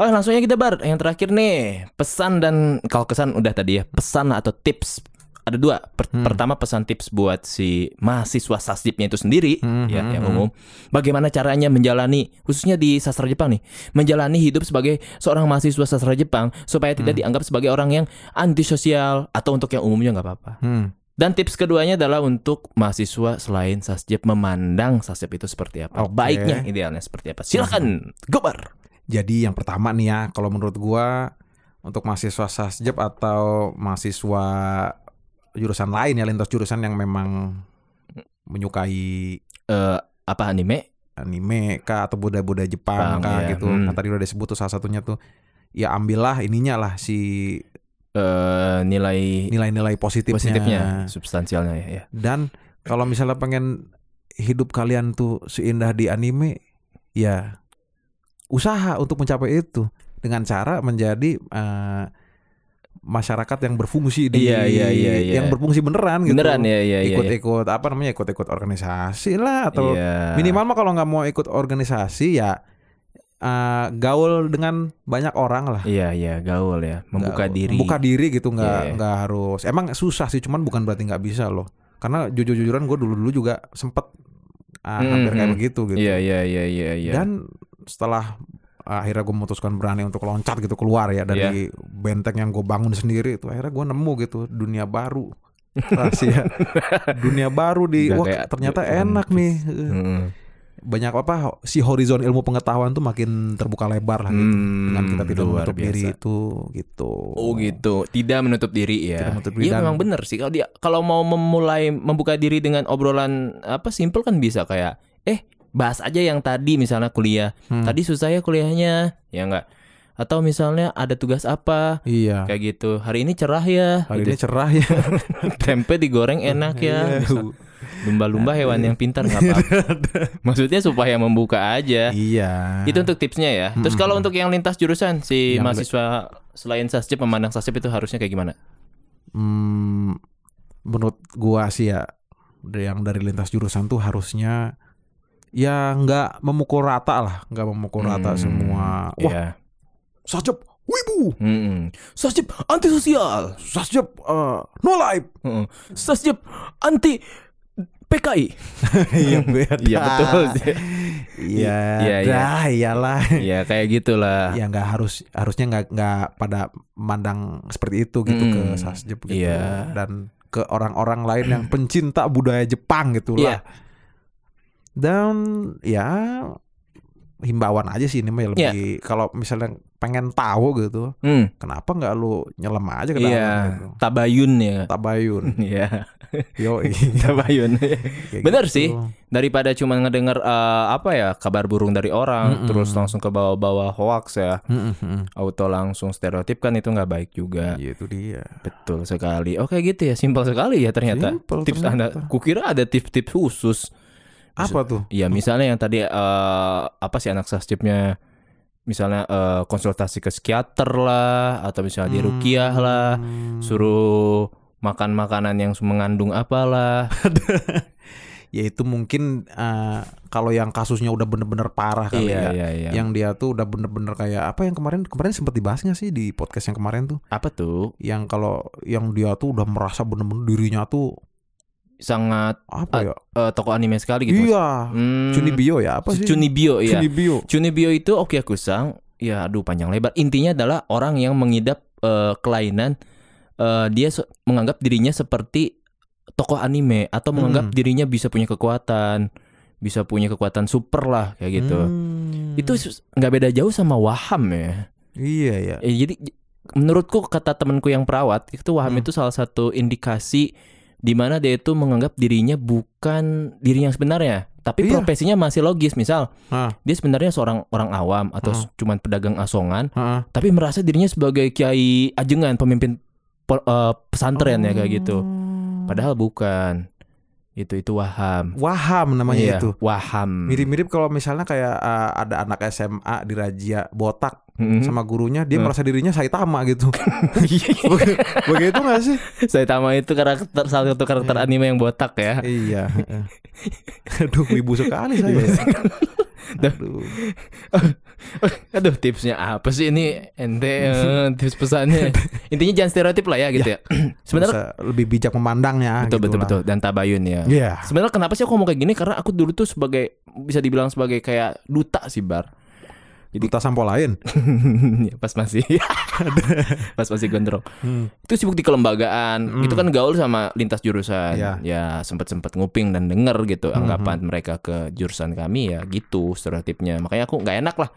Speaker 2: Oke, langsung aja kita bar. Yang terakhir nih, pesan dan kalau kesan udah tadi ya, pesan atau tips ada dua. Per- Pertama pesan tips buat si mahasiswa sasdipnya itu sendiri ya yang umum. Bagaimana caranya menjalani khususnya di sastra Jepang nih, menjalani hidup sebagai seorang mahasiswa sastra Jepang supaya tidak dianggap sebagai orang yang antisosial atau untuk yang umumnya nggak apa-apa.
Speaker 3: Hmm.
Speaker 2: Dan tips keduanya adalah untuk mahasiswa selain sasjep memandang sasjep itu seperti apa.
Speaker 3: Oke.
Speaker 2: Baiknya idealnya seperti apa. Silakan, gobar.
Speaker 3: Jadi yang pertama nih ya, kalau menurut gua untuk mahasiswa sasjep atau mahasiswa jurusan lain ya lintas jurusan yang memang menyukai
Speaker 2: Eh, apa anime?
Speaker 3: anime kah atau budaya-budaya Jepang
Speaker 2: Jepang,
Speaker 3: kah
Speaker 2: ya.
Speaker 3: gitu.
Speaker 2: Hmm.
Speaker 3: Nah, tadi udah disebut tuh salah satunya tuh ya ambillah ininya lah si
Speaker 2: eh nilai
Speaker 3: nilai-nilai positifnya.
Speaker 2: positifnya, substansialnya ya. ya.
Speaker 3: Dan kalau misalnya pengen hidup kalian tuh seindah di anime, ya usaha untuk mencapai itu dengan cara menjadi eh, masyarakat yang berfungsi di
Speaker 2: Iya, iya, iya, iya.
Speaker 3: yang berfungsi beneran gitu.
Speaker 2: Beneran ya, ya, ya. ya.
Speaker 3: Ikut-ikut apa namanya? Ikut-ikut organisasi lah atau
Speaker 2: Iya.
Speaker 3: minimal mah kalau nggak mau ikut organisasi ya eh, gaul dengan banyak orang lah.
Speaker 2: Iya, iya, gaul ya, membuka
Speaker 3: Nggak-
Speaker 2: diri.
Speaker 3: membuka diri gitu nggak
Speaker 2: Iya, iya.
Speaker 3: nggak harus emang susah sih cuman bukan berarti nggak bisa loh karena jujur jujuran gue dulu dulu juga sempet ah,
Speaker 2: Mm,
Speaker 3: hampir kayak
Speaker 2: mm.
Speaker 3: begitu gitu
Speaker 2: Iya, iya, iya, iya, iya.
Speaker 3: dan setelah ah, akhirnya gue memutuskan berani untuk loncat gitu keluar ya dari
Speaker 2: Iya.
Speaker 3: benteng yang gue bangun sendiri itu akhirnya gue nemu gitu dunia baru
Speaker 2: Iya.
Speaker 3: rahasia dunia baru di
Speaker 2: Udah
Speaker 3: wah
Speaker 2: kayak-
Speaker 3: ternyata
Speaker 2: kayak
Speaker 3: enak nih
Speaker 2: Mm.
Speaker 3: banyak apa si horizon ilmu pengetahuan tuh makin terbuka lebar lah gitu
Speaker 2: Hmm,
Speaker 3: dengan kita tidak
Speaker 2: luar
Speaker 3: menutup diri
Speaker 2: biasa.
Speaker 3: itu gitu
Speaker 2: Oh gitu, tidak menutup diri ya.
Speaker 3: Tidak menutup diri
Speaker 2: Iya
Speaker 3: dan-
Speaker 2: memang benar sih kalau dia kalau mau memulai membuka diri dengan obrolan apa simple kan bisa kayak eh bahas aja yang tadi misalnya kuliah.
Speaker 3: Hmm.
Speaker 2: Tadi susah ya kuliahnya, ya enggak? Atau misalnya ada tugas apa
Speaker 3: iya
Speaker 2: kayak gitu. Hari ini cerah ya.
Speaker 3: Hari ini
Speaker 2: gitu.
Speaker 3: cerah ya.
Speaker 2: Tempe digoreng enak ya. misal. Lumba-lumba hewan yang pintar nggak apa-apa. Maksudnya supaya membuka aja.
Speaker 3: iya.
Speaker 2: Itu untuk tipsnya ya. Terus kalau untuk yang lintas jurusan si
Speaker 3: Yang
Speaker 2: mahasiswa selain sasjep memandang sasjep itu harusnya kayak gimana?
Speaker 3: Hmm, menurut gua sih ya dari- yang dari lintas jurusan tuh harusnya ya nggak memukul rata lah, nggak memukul rata
Speaker 2: Hmm,
Speaker 3: semua. Wah,
Speaker 2: Iya.
Speaker 3: sajep, wibu,
Speaker 2: Mm-mm. Sasjep antisosial.
Speaker 3: sajep, eh, no life.
Speaker 2: Mm-mm. Sasjep anti PKI.
Speaker 3: Iya beda.
Speaker 2: Iya betul. sih.
Speaker 3: Iya,
Speaker 2: Iya, iya.
Speaker 3: dah, iyalah.
Speaker 2: Iya kayak gitulah.
Speaker 3: Ya nggak harus harusnya nggak nggak pada mandang seperti itu gitu
Speaker 2: Hmm,
Speaker 3: ke sasjep gitu
Speaker 2: iya.
Speaker 3: dan ke orang-orang lain yang pencinta budaya Jepang
Speaker 2: Iya.
Speaker 3: gitulah. Dan ya himbauan aja sih ini mah ya lebih
Speaker 2: Iya.
Speaker 3: kalau misalnya pengen tahu gitu
Speaker 2: Hmm.
Speaker 3: kenapa nggak lu nyelam aja ke dalam
Speaker 2: Iya.
Speaker 3: gitu.
Speaker 2: Tabayun ya.
Speaker 3: Tabayun.
Speaker 2: Iya.
Speaker 3: Yo.
Speaker 2: Tabayun. Bener
Speaker 3: gitu.
Speaker 2: sih. Daripada cuma ngedengar eh, apa ya kabar burung dari orang,
Speaker 3: Mm-mm.
Speaker 2: terus langsung ke bawah-bawah hoax ya, auto langsung stereotip kan itu nggak baik juga.
Speaker 3: Iya itu dia.
Speaker 2: Betul sekali. Oke gitu ya, simpel sekali ya ternyata.
Speaker 3: Simple
Speaker 2: tips
Speaker 3: ternyata.
Speaker 2: Anda, kukira ada tips-tips khusus.
Speaker 3: Apa tuh?
Speaker 2: Iya misalnya yang tadi eh, apa sih anak sasjipnya misalnya eh, konsultasi ke psikiater lah atau misalnya di Iya, rukiah lah
Speaker 3: Hmm.
Speaker 2: suruh makan makanan yang mengandung apalah
Speaker 3: ya itu mungkin eh, kalau yang kasusnya udah bener-bener parah kali ya.
Speaker 2: iya iya
Speaker 3: Yang dia tuh udah bener-bener kayak apa yang kemarin kemarin sempat dibahas nggak sih di podcast yang kemarin tuh?
Speaker 2: apa tuh
Speaker 3: Yang kalau yang dia tuh udah merasa bener-bener dirinya tuh
Speaker 2: sangat
Speaker 3: apa
Speaker 2: Ah,
Speaker 3: ya?
Speaker 2: eh, toko anime sekali gitu
Speaker 3: iya.
Speaker 2: Hmm,
Speaker 3: Cunibio ya apa sih?
Speaker 2: Chunibyo, iya
Speaker 3: Cunibio.
Speaker 2: Chunibyo itu Okyakusang ya aduh panjang lebar intinya adalah orang yang mengidap eh, kelainan eh, dia se- menganggap dirinya seperti tokoh anime atau menganggap
Speaker 3: Hmm.
Speaker 2: dirinya bisa punya kekuatan bisa punya kekuatan super lah kayak gitu
Speaker 3: Hmm.
Speaker 2: itu sus- nggak beda jauh sama waham ya
Speaker 3: iya ya.
Speaker 2: Eh, jadi j- menurutku kata temanku yang perawat itu waham
Speaker 3: Hmm.
Speaker 2: itu salah satu indikasi di mana dia itu menganggap dirinya bukan dirinya yang sebenarnya, tapi
Speaker 3: Iya.
Speaker 2: profesinya masih logis. Misal
Speaker 3: Ah.
Speaker 2: dia sebenarnya seorang orang awam atau
Speaker 3: Ah.
Speaker 2: cuman pedagang asongan,
Speaker 3: Heeh.
Speaker 2: tapi merasa dirinya sebagai kiai ajengan, pemimpin po- eh, pesantren ya kayak
Speaker 3: Oh.
Speaker 2: gitu.
Speaker 3: Hmm.
Speaker 2: Padahal bukan. Itu itu waham.
Speaker 3: Waham namanya
Speaker 2: Iya,
Speaker 3: itu.
Speaker 2: Waham.
Speaker 3: Mirip-mirip kalau misalnya kayak eh, ada anak SMA di Raja botak
Speaker 2: Mm-mm.
Speaker 3: sama gurunya dia
Speaker 2: Hmm. Iya.
Speaker 3: merasa dirinya Saitama gitu. Beg- Begitu gak sih?
Speaker 2: Saitama itu karakter salah satu karakter
Speaker 3: Iya.
Speaker 2: anime yang botak ya.
Speaker 3: iya. heeh. Aduh, wibu sekali saya.
Speaker 2: Iya.
Speaker 3: Aduh.
Speaker 2: Aduh tipsnya apa sih ini ente eh, tips pesannya intinya jangan stereotip lah ya gitu ya, sebenarnya
Speaker 3: Bisa lebih bijak memandangnya.
Speaker 2: betul
Speaker 3: Iya. gitu
Speaker 2: betul
Speaker 3: lah.
Speaker 2: betul dan tabayun ya
Speaker 3: Iya.
Speaker 2: sebenarnya kenapa sih aku ngomong kayak gini karena aku dulu tuh sebagai bisa dibilang sebagai kayak duta sih bar
Speaker 3: Duta sampo lain.
Speaker 2: Ya, pas masih pas masih gondrong
Speaker 3: Hmm.
Speaker 2: itu sibuk di kelembagaan
Speaker 3: Hmm.
Speaker 2: itu kan gaul sama lintas jurusan
Speaker 3: Iya. Hmm.
Speaker 2: ya sempet sempet nguping dan denger gitu anggapan mereka ke jurusan kami ya gitu stereotipnya makanya aku nggak enak lah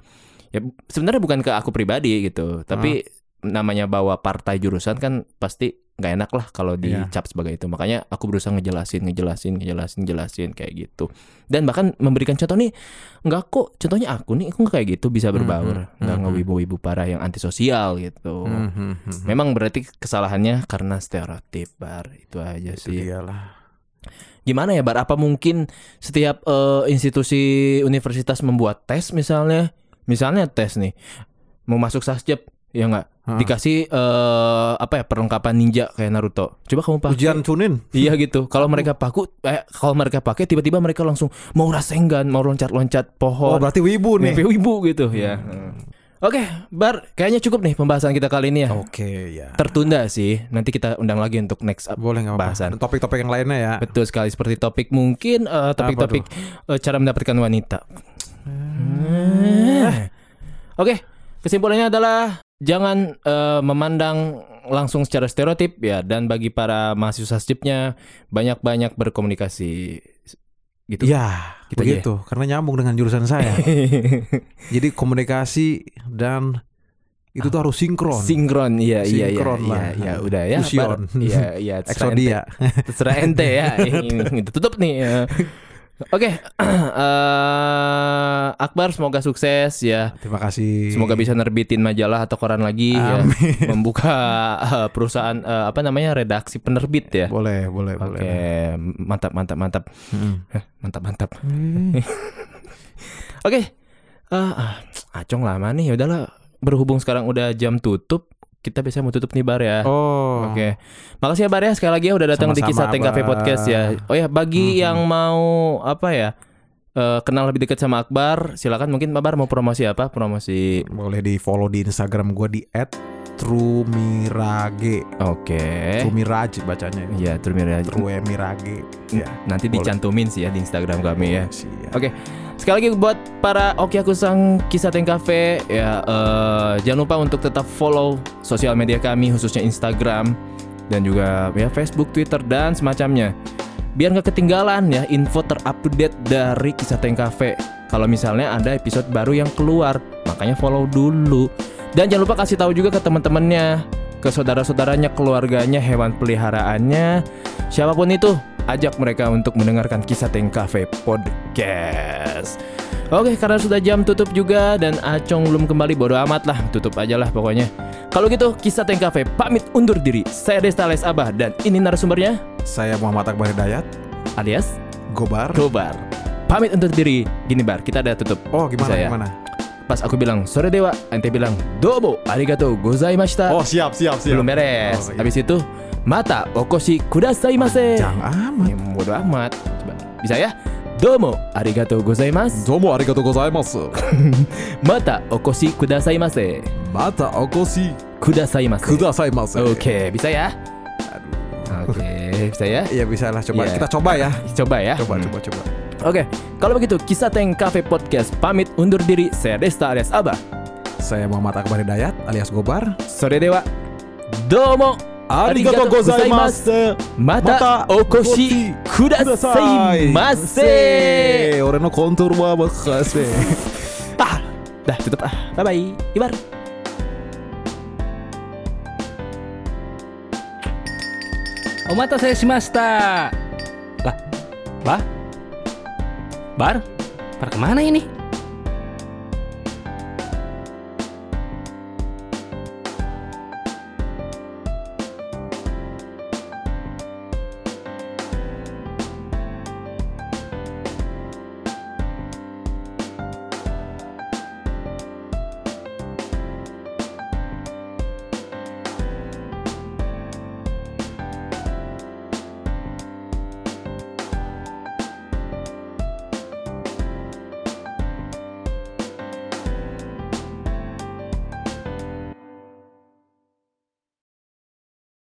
Speaker 2: ya sebenarnya bukan ke aku pribadi gitu tapi namanya bawa partai jurusan kan pasti nggak enak lah kalau
Speaker 3: Iya.
Speaker 2: dicap sebagai itu makanya aku berusaha ngejelasin ngejelasin ngejelasin ngejelasin kayak gitu dan bahkan memberikan contoh nih nggak kok contohnya aku nih aku nggak kayak gitu bisa berbaur
Speaker 3: Mhm,
Speaker 2: nggak
Speaker 3: mhm.
Speaker 2: ngewibu-wibu parah yang antisosial gitu
Speaker 3: Hmm, hmm, hmm.
Speaker 2: Memang berarti kesalahannya karena stereotip bar itu aja
Speaker 3: Itu
Speaker 2: sih.
Speaker 3: dia lah.
Speaker 2: Gimana ya bar? Apa mungkin setiap eh, institusi universitas membuat tes misalnya, misalnya tes nih mau masuk sasjep ya nggak
Speaker 3: Ha.
Speaker 2: dikasih eh, apa ya perlengkapan ninja kayak Naruto. Coba kamu pakai.
Speaker 3: Ujian Chunin.
Speaker 2: Iya gitu. Kalau mereka paku, eh, kalau mereka pakai tiba-tiba mereka langsung mau rasengan, mau loncat-loncat
Speaker 3: Oh,
Speaker 2: pohon.
Speaker 3: berarti wibu nih.
Speaker 2: mimpi
Speaker 3: Hmm.
Speaker 2: wibu gitu ya. Oke, Bar, kayaknya cukup nih pembahasan kita kali ini ya.
Speaker 3: Oke, ya.
Speaker 2: Tertunda sih. Nanti kita undang lagi untuk next up.
Speaker 3: Boleh nggak
Speaker 2: Bahasan.
Speaker 3: apa-apa. Dan Topik-topik yang lainnya ya.
Speaker 2: Betul sekali seperti topik mungkin eh, topik-topik eh, cara mendapatkan wanita.
Speaker 3: Hmm.
Speaker 2: Eh. Oke, kesimpulannya adalah jangan eh, memandang langsung secara stereotip ya dan bagi para mahasiswa sasjipnya banyak-banyak berkomunikasi gitu.
Speaker 3: Iya,
Speaker 2: Gitu aja
Speaker 3: begitu. Karena nyambung dengan jurusan saya. Jadi komunikasi dan itu tuh harus sinkron.
Speaker 2: Sinkron, iya iya iya.
Speaker 3: Sinkron
Speaker 2: Iya,
Speaker 3: lah.
Speaker 2: iya, udah ya.
Speaker 3: Fusion.
Speaker 2: Bar. Iya, iya. terserah ente.
Speaker 3: Exodia.
Speaker 2: Terserah ente ya. Ini tutup nih. ya. Oke, eh, Akbar semoga sukses ya.
Speaker 3: Terima kasih.
Speaker 2: Semoga bisa nerbitin majalah atau koran lagi ya. Membuka eh, perusahaan eh, apa namanya redaksi penerbit ya.
Speaker 3: Boleh, boleh,
Speaker 2: Oke,
Speaker 3: boleh.
Speaker 2: mantap mantap mantap.
Speaker 3: Mm.
Speaker 2: Hah, Mantap mantap.
Speaker 3: Hmm.
Speaker 2: Oke. Eh, ah, acong lama nih. Ya Udahlah, berhubung sekarang udah jam tutup, kita biasanya mau tutup nih bar ya.
Speaker 3: Oh.
Speaker 2: Oke, makasih ya Bar ya sekali lagi ya udah datang di
Speaker 3: Sama-sama,
Speaker 2: kisah Teng Cafe
Speaker 3: Bar.
Speaker 2: Podcast ya. Oh ya bagi
Speaker 3: Mhm.
Speaker 2: yang mau apa ya eh, kenal lebih dekat sama Akbar, silakan mungkin Akbar mau promosi apa? Promosi.
Speaker 3: Boleh di follow di Instagram gue di @trumirage.
Speaker 2: Oke.
Speaker 3: Trumirage bacanya. ya.
Speaker 2: Ya, Turmira.
Speaker 3: Truemirage. Ya.
Speaker 2: Nanti
Speaker 3: Boleh.
Speaker 2: dicantumin sih ya di Instagram Mm. kami ya.
Speaker 3: Siap.
Speaker 2: Oke. Sekali lagi buat para Okiakusang Kisah Teng Cafe ya eh, jangan lupa untuk tetap follow sosial media kami khususnya Instagram dan juga ya Facebook, Twitter dan semacamnya. Biar nggak ketinggalan ya info terupdate dari Kisah Teng Cafe. Kalau misalnya ada episode baru yang keluar, makanya follow dulu. Dan jangan lupa kasih tahu juga ke teman-temannya, ke saudara-saudaranya, keluarganya, hewan peliharaannya, siapapun itu ajak mereka untuk mendengarkan kisah Teng Cafe Podcast. Oke, karena sudah jam tutup juga dan Acong belum kembali bodo amat lah, tutup aja lah pokoknya. Kalau gitu, kisah Teng Cafe pamit undur diri. Saya Desta Les Abah dan ini narasumbernya
Speaker 3: Saya Muhammad Akbar Hidayat.
Speaker 2: alias
Speaker 3: Gobar.
Speaker 2: Gobar. Pamit undur diri. Gini Bar, kita ada tutup.
Speaker 3: Oh, gimana
Speaker 2: Saya.
Speaker 3: gimana?
Speaker 2: Pas aku bilang sore dewa, ente bilang dobo arigato gozaimashita.
Speaker 3: Oh siap siap siap.
Speaker 2: Eh. belum beres.
Speaker 3: Oh, iya.
Speaker 2: Habis itu mata okoshi kudasaimase.
Speaker 3: Jangan amat.
Speaker 2: Ya, bodo amat. Coba. Bisa ya? Domo arigato gozaimasu.
Speaker 3: Domo arigatou gozaimasu.
Speaker 2: Mata okoshi kudasaimase.
Speaker 3: Mata okoshi
Speaker 2: Kudasaimase.
Speaker 3: kudasaimasu.
Speaker 2: Oke, bisa ya? Oke, bisa ya?
Speaker 3: Ya bisa lah coba.
Speaker 2: Iya.
Speaker 3: Kita coba ya.
Speaker 2: Coba ya.
Speaker 3: Coba
Speaker 2: Hmm.
Speaker 3: coba coba.
Speaker 2: Oke, kalau begitu kisah Teng Cafe Podcast pamit undur diri. Saya Desta alias Abah.
Speaker 3: Saya Muhammad Akbar Hidayat alias Gobar.
Speaker 2: Sore dewa. Domo
Speaker 3: Arigatou gozaimasu.
Speaker 2: Mata, okoshi kudasaimase.
Speaker 3: Orang no kontur wa makase.
Speaker 2: Ah, dah tutup ah. Bye bye. Ibar.
Speaker 1: Omata saya Simasta. Lah, lah, Bar, Bar kemana ini?